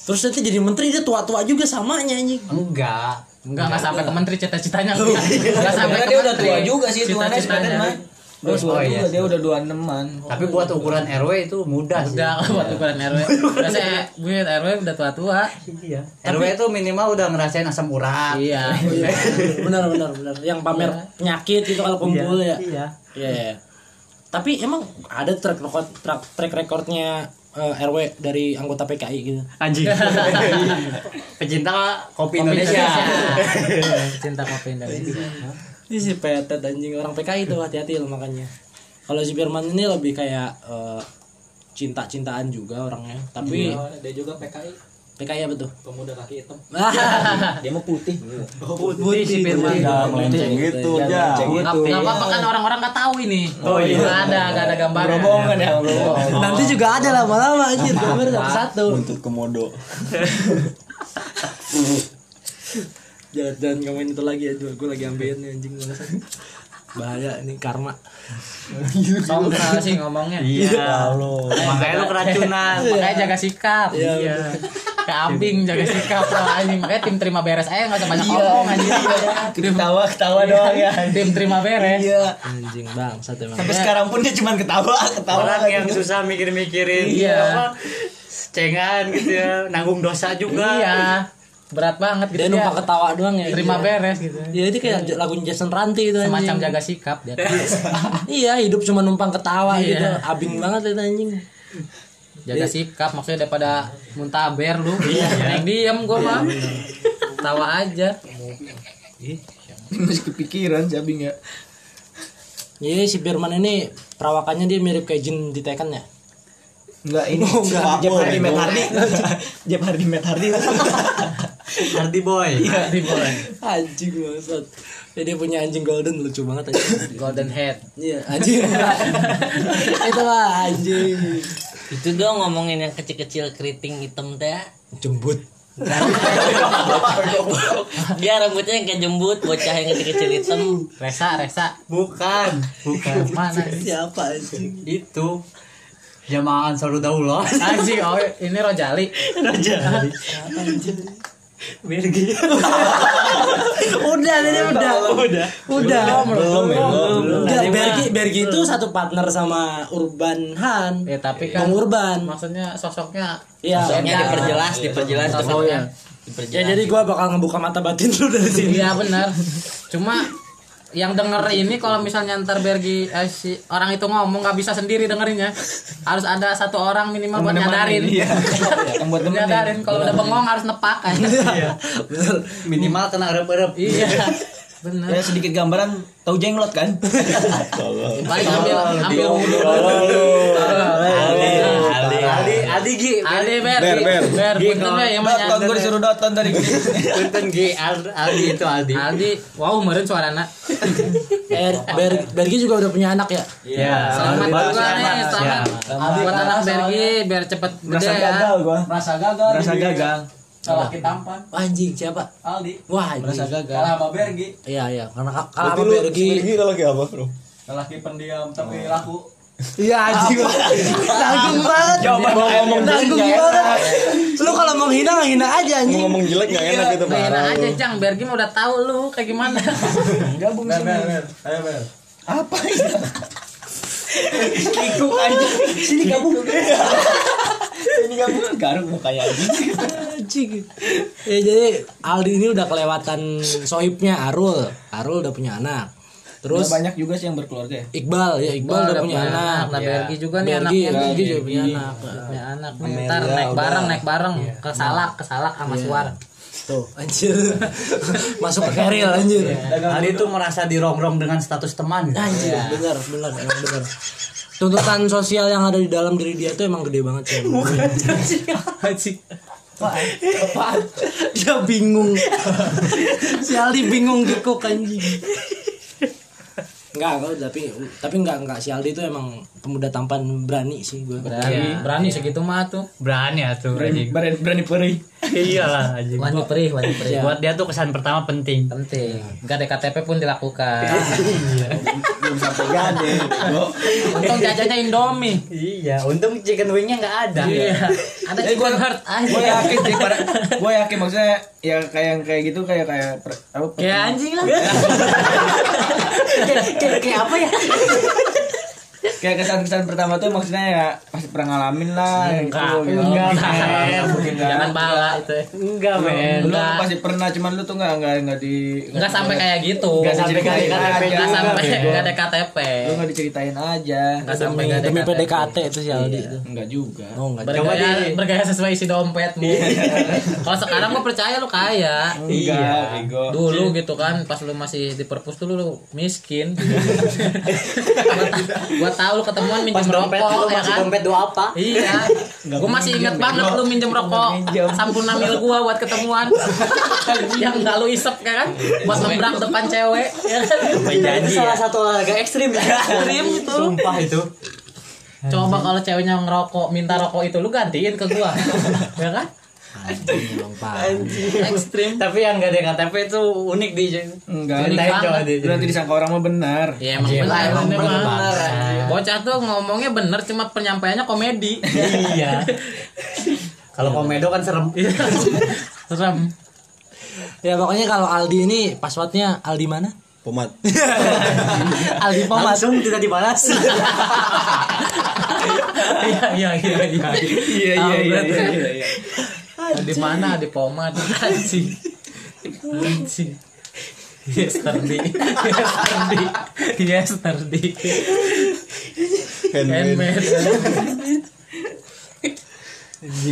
Speaker 1: terus nanti jadi menteri dia tua-tua juga samanya anjing
Speaker 2: (laughs) enggak
Speaker 3: Enggak enggak sampai ke menteri cita-citanya. Enggak sampai
Speaker 8: Karena dia udah tua juga sih tuanya sebenarnya
Speaker 3: cita-citanya.
Speaker 8: mah.
Speaker 2: Oh,
Speaker 7: Udah suara
Speaker 2: iya,
Speaker 7: juga, dia udah 26-an.
Speaker 2: tapi buat ukuran RW itu mudah sih
Speaker 3: Udah buat ukuran RW. Udah saya buat RW udah tua-tua.
Speaker 2: iya RW itu minimal udah ngerasain asam urat
Speaker 3: Iya.
Speaker 1: benar benar benar yang pamer penyakit gitu kalau kumpul ya
Speaker 2: iya
Speaker 1: Iya, iya. tapi emang ada track record track, track recordnya eh, RW dari anggota PKI gitu
Speaker 2: anjing (laughs) pecinta kopi, Indonesia,
Speaker 3: Cinta kopi Indonesia.
Speaker 1: ini si petet anjing orang PKI tuh hati-hati lo makanya kalau si Firman ini lebih kayak eh, cinta-cintaan juga orangnya tapi
Speaker 3: Ada juga PKI
Speaker 1: PKI (laughs) apa tuh
Speaker 3: pemuda kaki hitam.
Speaker 7: Ah, Dia mah putih.
Speaker 2: putih si Firman
Speaker 4: Jangan melenceng gitu, ya.
Speaker 3: Enggak apa-apa kan orang-orang enggak tahu ini. Oh iya. Enggak ada, enggak ada gambaran.
Speaker 7: Berobongan ya, berobongan.
Speaker 1: nanti juga ada lama-lama anjir gambar satu satu
Speaker 4: Buntut komodo.
Speaker 1: jangan jangan ngomongin itu lagi ya gue lagi ambilin nih, anjing bangsat. bahaya ini karma
Speaker 3: Song sih ngomongnya.
Speaker 4: Ya.
Speaker 2: iya makanya lu keracunan
Speaker 3: Makanya jaga sikap. Iya. Ke ambing jaga sikap lah anjing. Makanya tim terima beres aja enggak
Speaker 1: Iya.
Speaker 3: usah banyak ngomong anjing. Tim
Speaker 7: Ketawa ketawa
Speaker 1: Oh,
Speaker 7: doang ya.
Speaker 3: tim terima beres.
Speaker 1: Iya.
Speaker 3: Iya.
Speaker 1: anjing bangsat emang
Speaker 7: Sampai sekarang pun dia cuman ketawa, ketawa
Speaker 2: orang
Speaker 7: lagi.
Speaker 2: yang susah mikir-mikirin
Speaker 3: Iya.
Speaker 2: apa cengan gitu ya nanggung dosa juga
Speaker 3: Iya. Berat banget gitu.
Speaker 1: dia
Speaker 3: dia.
Speaker 1: numpang ketawa doang ya
Speaker 3: terima
Speaker 1: Iya.
Speaker 3: beres gitu.
Speaker 1: ya itu kayak lagunya Jason Ranti itu
Speaker 3: Semacam
Speaker 1: anjing.
Speaker 3: jaga sikap dia.
Speaker 1: iya hidup cuma numpang ketawa
Speaker 3: Iya.
Speaker 1: gitu abing banget itu anjing Iya.
Speaker 3: Jaga sikap maksudnya daripada muntaber lu. Yang diam
Speaker 1: Iya,
Speaker 3: gua mah. Tawa aja.
Speaker 7: Masih kepikiran si Abing ya.
Speaker 1: jadi Iya, si Firman ini perawakannya dia mirip kayak Jin di Tekken ya
Speaker 7: Enggak ini enggak Jeff Hardy Matt Hardy. (laughs) Jeff Hardy Matt Hardy.
Speaker 2: Hardy boy
Speaker 3: Di boleh.
Speaker 1: anjing banget ya, dia punya anjing golden lucu banget anjing
Speaker 3: Golden head.
Speaker 1: iya
Speaker 7: (laughs)
Speaker 1: anjing itu lah anjing
Speaker 5: itu dong ngomongin yang kecil-kecil keriting hitam teh
Speaker 1: jembut
Speaker 5: (laughs) dia rambutnya kayak jembut bocah yang kecil-kecil hitam
Speaker 3: Resa, Resa.
Speaker 2: bukan bukan
Speaker 3: Mana?
Speaker 1: siapa anjing
Speaker 2: itu jamaah Ansaruddaullah
Speaker 3: Anjing, oh ini Rojali.
Speaker 2: raja
Speaker 7: Gitu. (laughs)
Speaker 2: Bergi
Speaker 1: udah ini udah udah udah belum belum Enggak, Bergi Bergi itu
Speaker 7: Nah.
Speaker 1: satu partner sama Urban Han
Speaker 7: Iya.
Speaker 3: Ya tapi kan
Speaker 1: Bang Urban
Speaker 3: maksudnya sosoknya
Speaker 1: Iya.
Speaker 5: Sosoknya
Speaker 1: Iya.
Speaker 5: Ya, diperjelas diperjelas sosoknya
Speaker 7: (laughs)
Speaker 1: ya jadi gua bakal ngebuka mata batin lu dari sini
Speaker 3: Iya benar. Cuma yang denger ini kalau misalnya ntar Bergi eh, si orang itu ngomong nggak bisa sendiri dengerinnya harus ada satu orang minimal buat nyadarin (laughs) yang buat nyadarin kalau udah bengong harus nepak kan
Speaker 2: minimal kena rep-rep
Speaker 3: iya bener
Speaker 7: Ya sedikit gambaran tahu jenglot (laughs) kan? Oh,
Speaker 3: paling ambil ambil mundur
Speaker 7: Iya.
Speaker 2: Ali Ali Ali Gi
Speaker 3: Ade Ber
Speaker 6: Ber, Ber.
Speaker 3: Ber ya, punten Ber yang
Speaker 7: Bang,
Speaker 3: menyadar
Speaker 7: gue disuruh doton dari
Speaker 2: punten Gi Al- Aldi itu Aldi
Speaker 3: Aldi wow meren suarana
Speaker 1: Eh, Ber- Bergi juga udah punya anak ya?
Speaker 2: Iya
Speaker 3: selamat
Speaker 2: Bagus,
Speaker 3: juga nih
Speaker 2: selamat.
Speaker 3: selamat
Speaker 6: Aldi
Speaker 3: buat anak
Speaker 6: kalah
Speaker 3: Bergi biar cepet gede ya
Speaker 7: gua.
Speaker 6: Merasa gagal.
Speaker 7: Merasa
Speaker 6: jadi
Speaker 7: gagal.
Speaker 6: Lelaki tampan.
Speaker 1: Anjing siapa?
Speaker 6: Aldi.
Speaker 1: Wah,
Speaker 7: Merasa
Speaker 1: anjing.
Speaker 7: gagal.
Speaker 6: Kalah sama Bergi.
Speaker 1: Iya, iya. Karena ka- kalah sama Bergi.
Speaker 4: Ah,
Speaker 1: (laughs)
Speaker 4: lagi apa bro?
Speaker 6: Lelaki pendiam tapi
Speaker 2: Oh.
Speaker 6: laku.
Speaker 1: Iya, anjing.
Speaker 7: Ah,
Speaker 1: Tanggung banget.
Speaker 7: Coba ngomong
Speaker 1: Tanggung
Speaker 7: iya.
Speaker 1: banget. Lu kalau mau hina nggak hina aja anjing.
Speaker 4: Ngomong jelek gak enak gitu
Speaker 3: Nah, enak aja Jang, biar gimana udah tahu lu kayak gimana.
Speaker 7: Gabung
Speaker 6: Ber,
Speaker 7: sini.
Speaker 6: ber, ber. Ayo, ber.
Speaker 7: Kikuk aja. Sini gabung. Sini gabung. Iya, Garuk mukanya anjing.
Speaker 1: Anjing. Ya jadi Aldi ini udah kelewatan sohibnya Arul. Arul udah punya anak. Terus
Speaker 7: Terus banyak juga sih yang berkeluarga ya.
Speaker 1: Iqbal ya Iqbal udah punya anak. Iya.
Speaker 3: Nah, Bergi juga nih
Speaker 1: Bergi,
Speaker 3: anaknya.
Speaker 1: Bergi
Speaker 3: Bergi
Speaker 1: juga punya anak.
Speaker 3: punya anak. nih. Ntar naik bareng, naik bareng ke Salak, ke Salak sama (laughs) Suar.
Speaker 1: Tuh, (laughs) anjir. Masuk ke keril anjir.
Speaker 2: Ali itu merasa dirongrong dengan status teman
Speaker 1: Anjir, benar, benar, emang benar. Tuntutan sosial yang ada di dalam diri dia tuh emang gede banget sih. Dia bingung. si Aldi bingung
Speaker 3: gitu,
Speaker 1: kikuk anjing. Enggak, enggak, tapi tapi enggak enggak si Aldi itu emang pemuda tampan berani sih gue.
Speaker 3: Berani, berani segitu mah tuh.
Speaker 2: berani ya tuh anjing
Speaker 7: Berani berani perih.
Speaker 2: iyalah anjing
Speaker 3: Wajib perih, wajib perih.
Speaker 1: Iya.
Speaker 2: buat dia tuh kesan pertama penting
Speaker 3: Penting. Gak ada KTP pun dilakukan.
Speaker 7: Belum sampai gade.
Speaker 3: Untung jajannya Indomie.
Speaker 2: iya untung chicken wingnya nggak ada
Speaker 3: Iya. Ada chicken heart Iya.
Speaker 7: Gue
Speaker 3: aja.
Speaker 7: yakin sih para gue yakin maksudnya ya kayak yang kayak gitu kayak kayak per- apa
Speaker 3: Kayak anjing lah. Kayak- kayak- Kayak apa ya?
Speaker 7: kayak kesan-kesan pertama tuh maksudnya ya pasti pernah ngalamin lah yang
Speaker 2: Enggak,
Speaker 7: gitu, gitu.
Speaker 2: enggak,
Speaker 7: Enggak,
Speaker 2: men.
Speaker 7: mungkin enggak.
Speaker 3: Jangan bala itu.
Speaker 2: enggak men
Speaker 7: Lu
Speaker 3: Enggak.
Speaker 7: pasti pernah cuman lu tuh enggak enggak enggak di
Speaker 3: Enggak sampai kayak gitu.
Speaker 7: Nggak sampai kayak KTP
Speaker 3: Nggak
Speaker 7: juga,
Speaker 3: sampai
Speaker 7: bego.
Speaker 3: nggak ada KTP.
Speaker 7: lu enggak diceritain aja.
Speaker 3: Nggak sampai
Speaker 1: Demi,
Speaker 3: nggak ada
Speaker 1: demi
Speaker 3: KTP.
Speaker 1: PDKT itu si Aldi itu.
Speaker 7: Enggak juga.
Speaker 1: Oh, enggak.
Speaker 2: Coba
Speaker 3: Bergaya,
Speaker 2: di-
Speaker 3: bergaya sesuai isi dompetmu. (laughs) Kalau sekarang gua percaya lu kaya.
Speaker 7: Enggak, bego.
Speaker 3: Dulu gitu kan pas lu masih di perpus dulu lu miskin. gua, ta- gua tahu lu ketemuan minjem rokok ya kan.
Speaker 2: dua apa
Speaker 3: Iya. Gua masih inget banget lu minjem rokok sampun namil gua buat ketemuan. Yang gak lu isep ya kan buat ngebrak depan cewek. Ya kan?
Speaker 2: Iya, Itu salah satu olahraga ekstrim
Speaker 3: Ekstrim itu.
Speaker 2: Sumpah itu
Speaker 3: Coba kalau ceweknya ngerokok, minta rokok itu lu gantiin ke gua. ya kan?
Speaker 1: Anjing emang parah.
Speaker 3: Ekstrim.
Speaker 2: Tapi yang gak ada KTP itu unik Iya. di
Speaker 7: Enggak.
Speaker 3: Unik
Speaker 7: Ceritain
Speaker 3: banget.
Speaker 7: coba deh. Lu nanti disangka orang mah benar.
Speaker 3: Ya emang
Speaker 2: Iya,
Speaker 3: bener,
Speaker 2: emang
Speaker 3: emang
Speaker 2: bener,
Speaker 3: bener.
Speaker 2: Bang.
Speaker 3: Bocah tuh ngomongnya bener, cuma penyampaiannya komedi.
Speaker 2: Iya Kalau komedo kan serem
Speaker 3: Serem.
Speaker 1: Ya pokoknya kalau Aldi ini passwordnya Aldi mana?
Speaker 4: Pomat (laughs)
Speaker 1: Aldi Pomat.
Speaker 2: Langsung tidak dibalas
Speaker 1: (laughs)
Speaker 3: Iya iya iya. iya.
Speaker 7: Iya iya iya iya, iya iya.
Speaker 3: Di mana di pomad anjing. Anjing. Yesterday, yesterday, yesterday,
Speaker 4: Handmade
Speaker 3: handmade.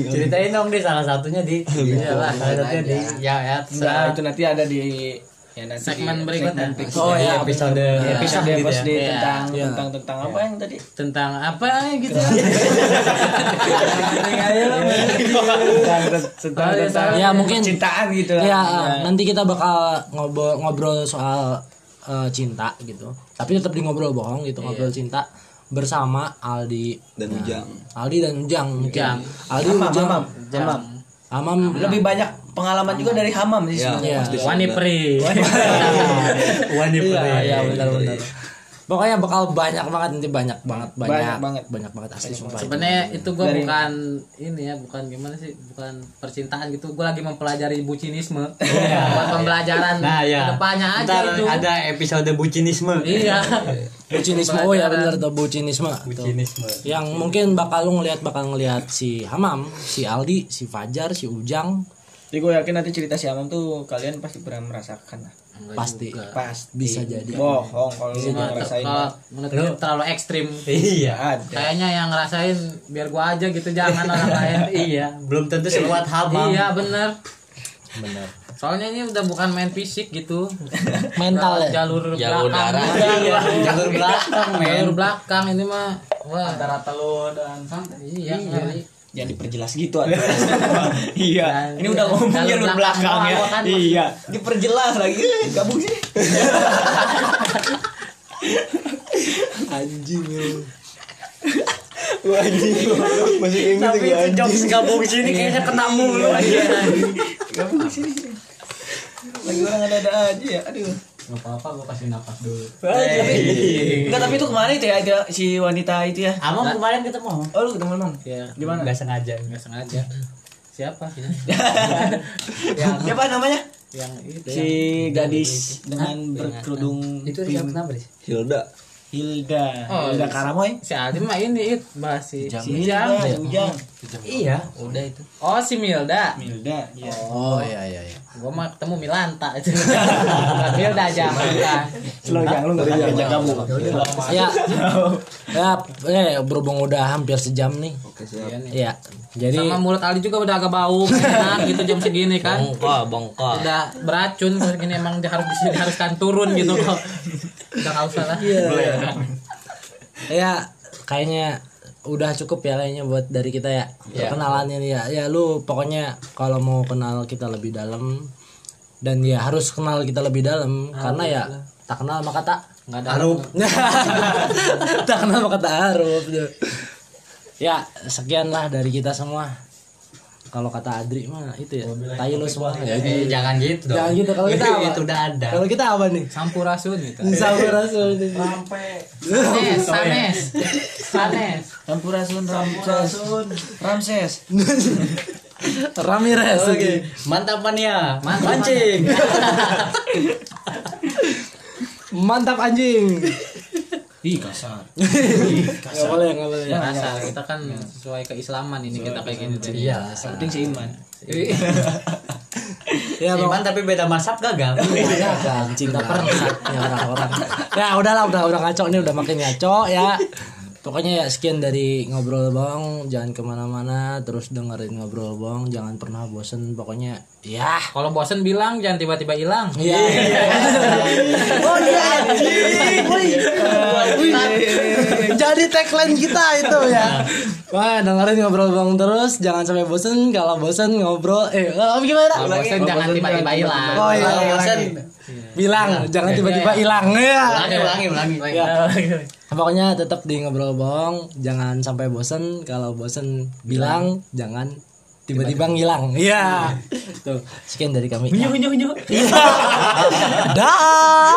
Speaker 2: Ceritain dong (laughs) di salah satunya di Iya lah salah satunya di Ya ya
Speaker 7: Enggak, Nah, itu nanti ada di ya nanti
Speaker 3: Segmen
Speaker 7: di-
Speaker 3: berikutnya.
Speaker 7: segmen berikutnya.
Speaker 1: Oh ya,
Speaker 2: episode
Speaker 7: episode ya,
Speaker 2: gitu
Speaker 7: episode
Speaker 3: Iya.
Speaker 7: tentang
Speaker 1: Iya.
Speaker 7: tentang tentang apa yang tadi?
Speaker 3: Tentang apa gitu?
Speaker 7: Tentang tentang
Speaker 3: Oh, iya,
Speaker 7: tentang
Speaker 1: Ya mungkin
Speaker 7: cintaan gitu lah.
Speaker 1: Ya, nanti kita bakal ngobrol ngobrol soal eh, cinta gitu. Tapi tetap di ngobrol bohong gitu,
Speaker 7: Iya.
Speaker 1: ngobrol cinta bersama Aldi
Speaker 4: dan Ujang
Speaker 1: Aldi dan Ujang mungkin.
Speaker 3: Ujang.
Speaker 1: Aldi Ujang.
Speaker 7: Hamam, hamam.
Speaker 1: Amam
Speaker 7: Nah, Lebih banyak pengalaman juga dari hamam sih sebenarnya.
Speaker 1: ya.
Speaker 3: Wanipri.
Speaker 1: Iya, iya, benar benar. Pokoknya bakal banyak banget nanti banyak banget banyak
Speaker 7: Banyak banget.
Speaker 1: banyak banget asli sumpah.
Speaker 3: Sebenarnya itu gue bukan ini ya, bukan gimana sih, bukan percintaan gitu. Gue lagi mempelajari bucinisme. Buat pembelajaran
Speaker 2: Iya. Nah ya
Speaker 3: kedepannya aja
Speaker 2: Ntar
Speaker 3: itu.
Speaker 2: ada episode bucinisme
Speaker 3: Iya.
Speaker 1: Bucinisme oh ya benar tuh bucinisme. Tuh.
Speaker 2: Bucinisme
Speaker 1: yang mungkin bakal lu ngelihat bakal ngelihat si Hamam, si Aldi, si Fajar, si Ujang,
Speaker 8: Jadi gue yakin nanti cerita si Amam tuh kalian pasti pernah merasakan lah.
Speaker 1: pasti
Speaker 8: Pasti.
Speaker 1: Bisa jadi.
Speaker 8: Bohong kalau lu
Speaker 3: Cuma ter-
Speaker 8: ngerasain.
Speaker 3: kalau menurut gue terlalu ekstrim
Speaker 2: Iya.
Speaker 8: Ada.
Speaker 3: kayaknya yang ngerasain biar gua aja gitu jangan
Speaker 2: (laughs)
Speaker 3: orang lain
Speaker 2: iya, belum tentu sekuat Hamam.
Speaker 3: iya bener
Speaker 1: benar
Speaker 3: soalnya ini udah bukan main fisik
Speaker 2: (laughs)
Speaker 3: gitu
Speaker 1: mental ya
Speaker 3: jalur
Speaker 5: Jalur
Speaker 3: belakang
Speaker 5: darah.
Speaker 3: Iya,
Speaker 2: Jalur belakang, men.
Speaker 3: jalur belakang ini mah wah antara
Speaker 8: Kalau dan
Speaker 3: iya ngeri.
Speaker 8: jangan diperjelas gitu ada. iya. Ini udah ngomong
Speaker 3: Jalur
Speaker 8: jalur
Speaker 3: belakang
Speaker 8: belakang ya.
Speaker 3: doang, kan?
Speaker 8: Iya. Diperjelas lagi. Eh, Gabung sih.
Speaker 4: Anjing lu. Gua anjing. Masih kayak gitu
Speaker 3: Iya,
Speaker 4: gua anjing.
Speaker 2: Jokes gabung sini kayaknya kena mulu aja.
Speaker 8: Lagi orang ada-ada aja ya. Aduh.
Speaker 3: nggak apa-apa gua kasih napas dulu
Speaker 8: Enggak tapi itu kemana itu ya Kira- si wanita itu ya?
Speaker 2: Amam kemarin ketemu Amam.
Speaker 8: Oh lu ketemu Amam.
Speaker 3: ya
Speaker 2: Gimana? Gak sengaja.
Speaker 3: nggak sengaja siapa
Speaker 8: Siapa namanya?
Speaker 3: yang itu
Speaker 8: Ya. Si gadis dengan berkerudung
Speaker 2: Itu siapa kenapa sih?
Speaker 4: Hilda.
Speaker 8: Hilda.
Speaker 3: Oh,
Speaker 8: Hilda
Speaker 3: iya.
Speaker 8: Karamoy.
Speaker 3: si Adi mah ini it bahas si
Speaker 8: Si
Speaker 3: si
Speaker 8: Hilda,
Speaker 3: Ujang
Speaker 8: si Ujang.
Speaker 2: Iya.
Speaker 5: Udah itu.
Speaker 3: oh si Milda
Speaker 8: Hilda, iya.
Speaker 1: oh iya iya iya
Speaker 3: gua mah ketemu Milanta (laughs) itu Milda aja Milda.
Speaker 8: Slow Jang, lu enggak ada yang kamu. (laughs)
Speaker 1: ya ya eh, berhubung udah hampir sejam nih
Speaker 4: Oke siap.
Speaker 1: ya jadi
Speaker 3: sama mulut Ali juga udah agak bau enak gitu jam segini kan
Speaker 5: Bongkol, bongkol.
Speaker 3: udah beracun kalau gini emang dia harus bisa diharuskan turun gitu kok udah nggak usah lah
Speaker 1: ya kayaknya udah cukup ya kayaknya buat dari kita ya perkenalannya nih ya ya lu pokoknya kalau mau kenal kita lebih dalam dan ya harus kenal kita lebih dalam karena ya tak kenal maka tak nggak ada harup (laughs) tak kenal maka tak harup ya sekianlah dari kita semua kalau kata Adri mah itu ya tai lu semua ya
Speaker 2: Eh, jangan gitu dong.
Speaker 1: Jangan gitu,
Speaker 2: (laughs)
Speaker 1: kalau kita apa?
Speaker 2: itu udah ada.
Speaker 1: kalau kita apa nih
Speaker 3: sampurasun gitu
Speaker 1: Sampurasun
Speaker 3: sanes sanes sanes
Speaker 8: Sampurasun, Ramses. Ramses.
Speaker 1: Ramirez oke
Speaker 2: Mantap mania.
Speaker 3: Mantap,
Speaker 2: Mancing.
Speaker 1: mantap anjing
Speaker 8: Ih, kasar.
Speaker 1: (laughs) nggak boleh nggak boleh
Speaker 3: ya kasar kita kan sesuai keislaman ini kita kayak gini jadi
Speaker 2: Iya.
Speaker 8: Penting seiman.
Speaker 1: ya bang
Speaker 2: Iman tapi beda mazhab gagal.
Speaker 1: gagal Ya, cinta persatnya orang-orang ya udahlah udah udah ngaco nih udah makin ngaco ya pokoknya ya sekian dari ngobrol bang jangan kemana-mana terus dengerin ngobrol bang jangan pernah bosen pokoknya ya
Speaker 3: kalau bosen bilang jangan tiba-tiba hilang
Speaker 1: Iya. (laughs) Oh, iya, Jadi tagline kita itu ya. Wah, dengerin ngobrol bang terus, jangan sampai bosen. Kalau bosen ngobrol, eh oh,
Speaker 3: kalau
Speaker 1: gimana?
Speaker 3: bosen jangan tiba-tiba hilang
Speaker 1: Oh iya,
Speaker 2: Kalau bosan,
Speaker 1: bilang jangan
Speaker 3: Iya,
Speaker 1: tiba-tiba hilang ya.
Speaker 2: ulangi, ulangi, ulangi.
Speaker 1: Ya. Pokoknya tetap di ngobrol bohong, jangan sampai bosen. Kalau bosen bilang, jangan tiba-tiba Iya. ngilang. (laughs) Iya. Tuh, sekian dari kami. Iya. Dah.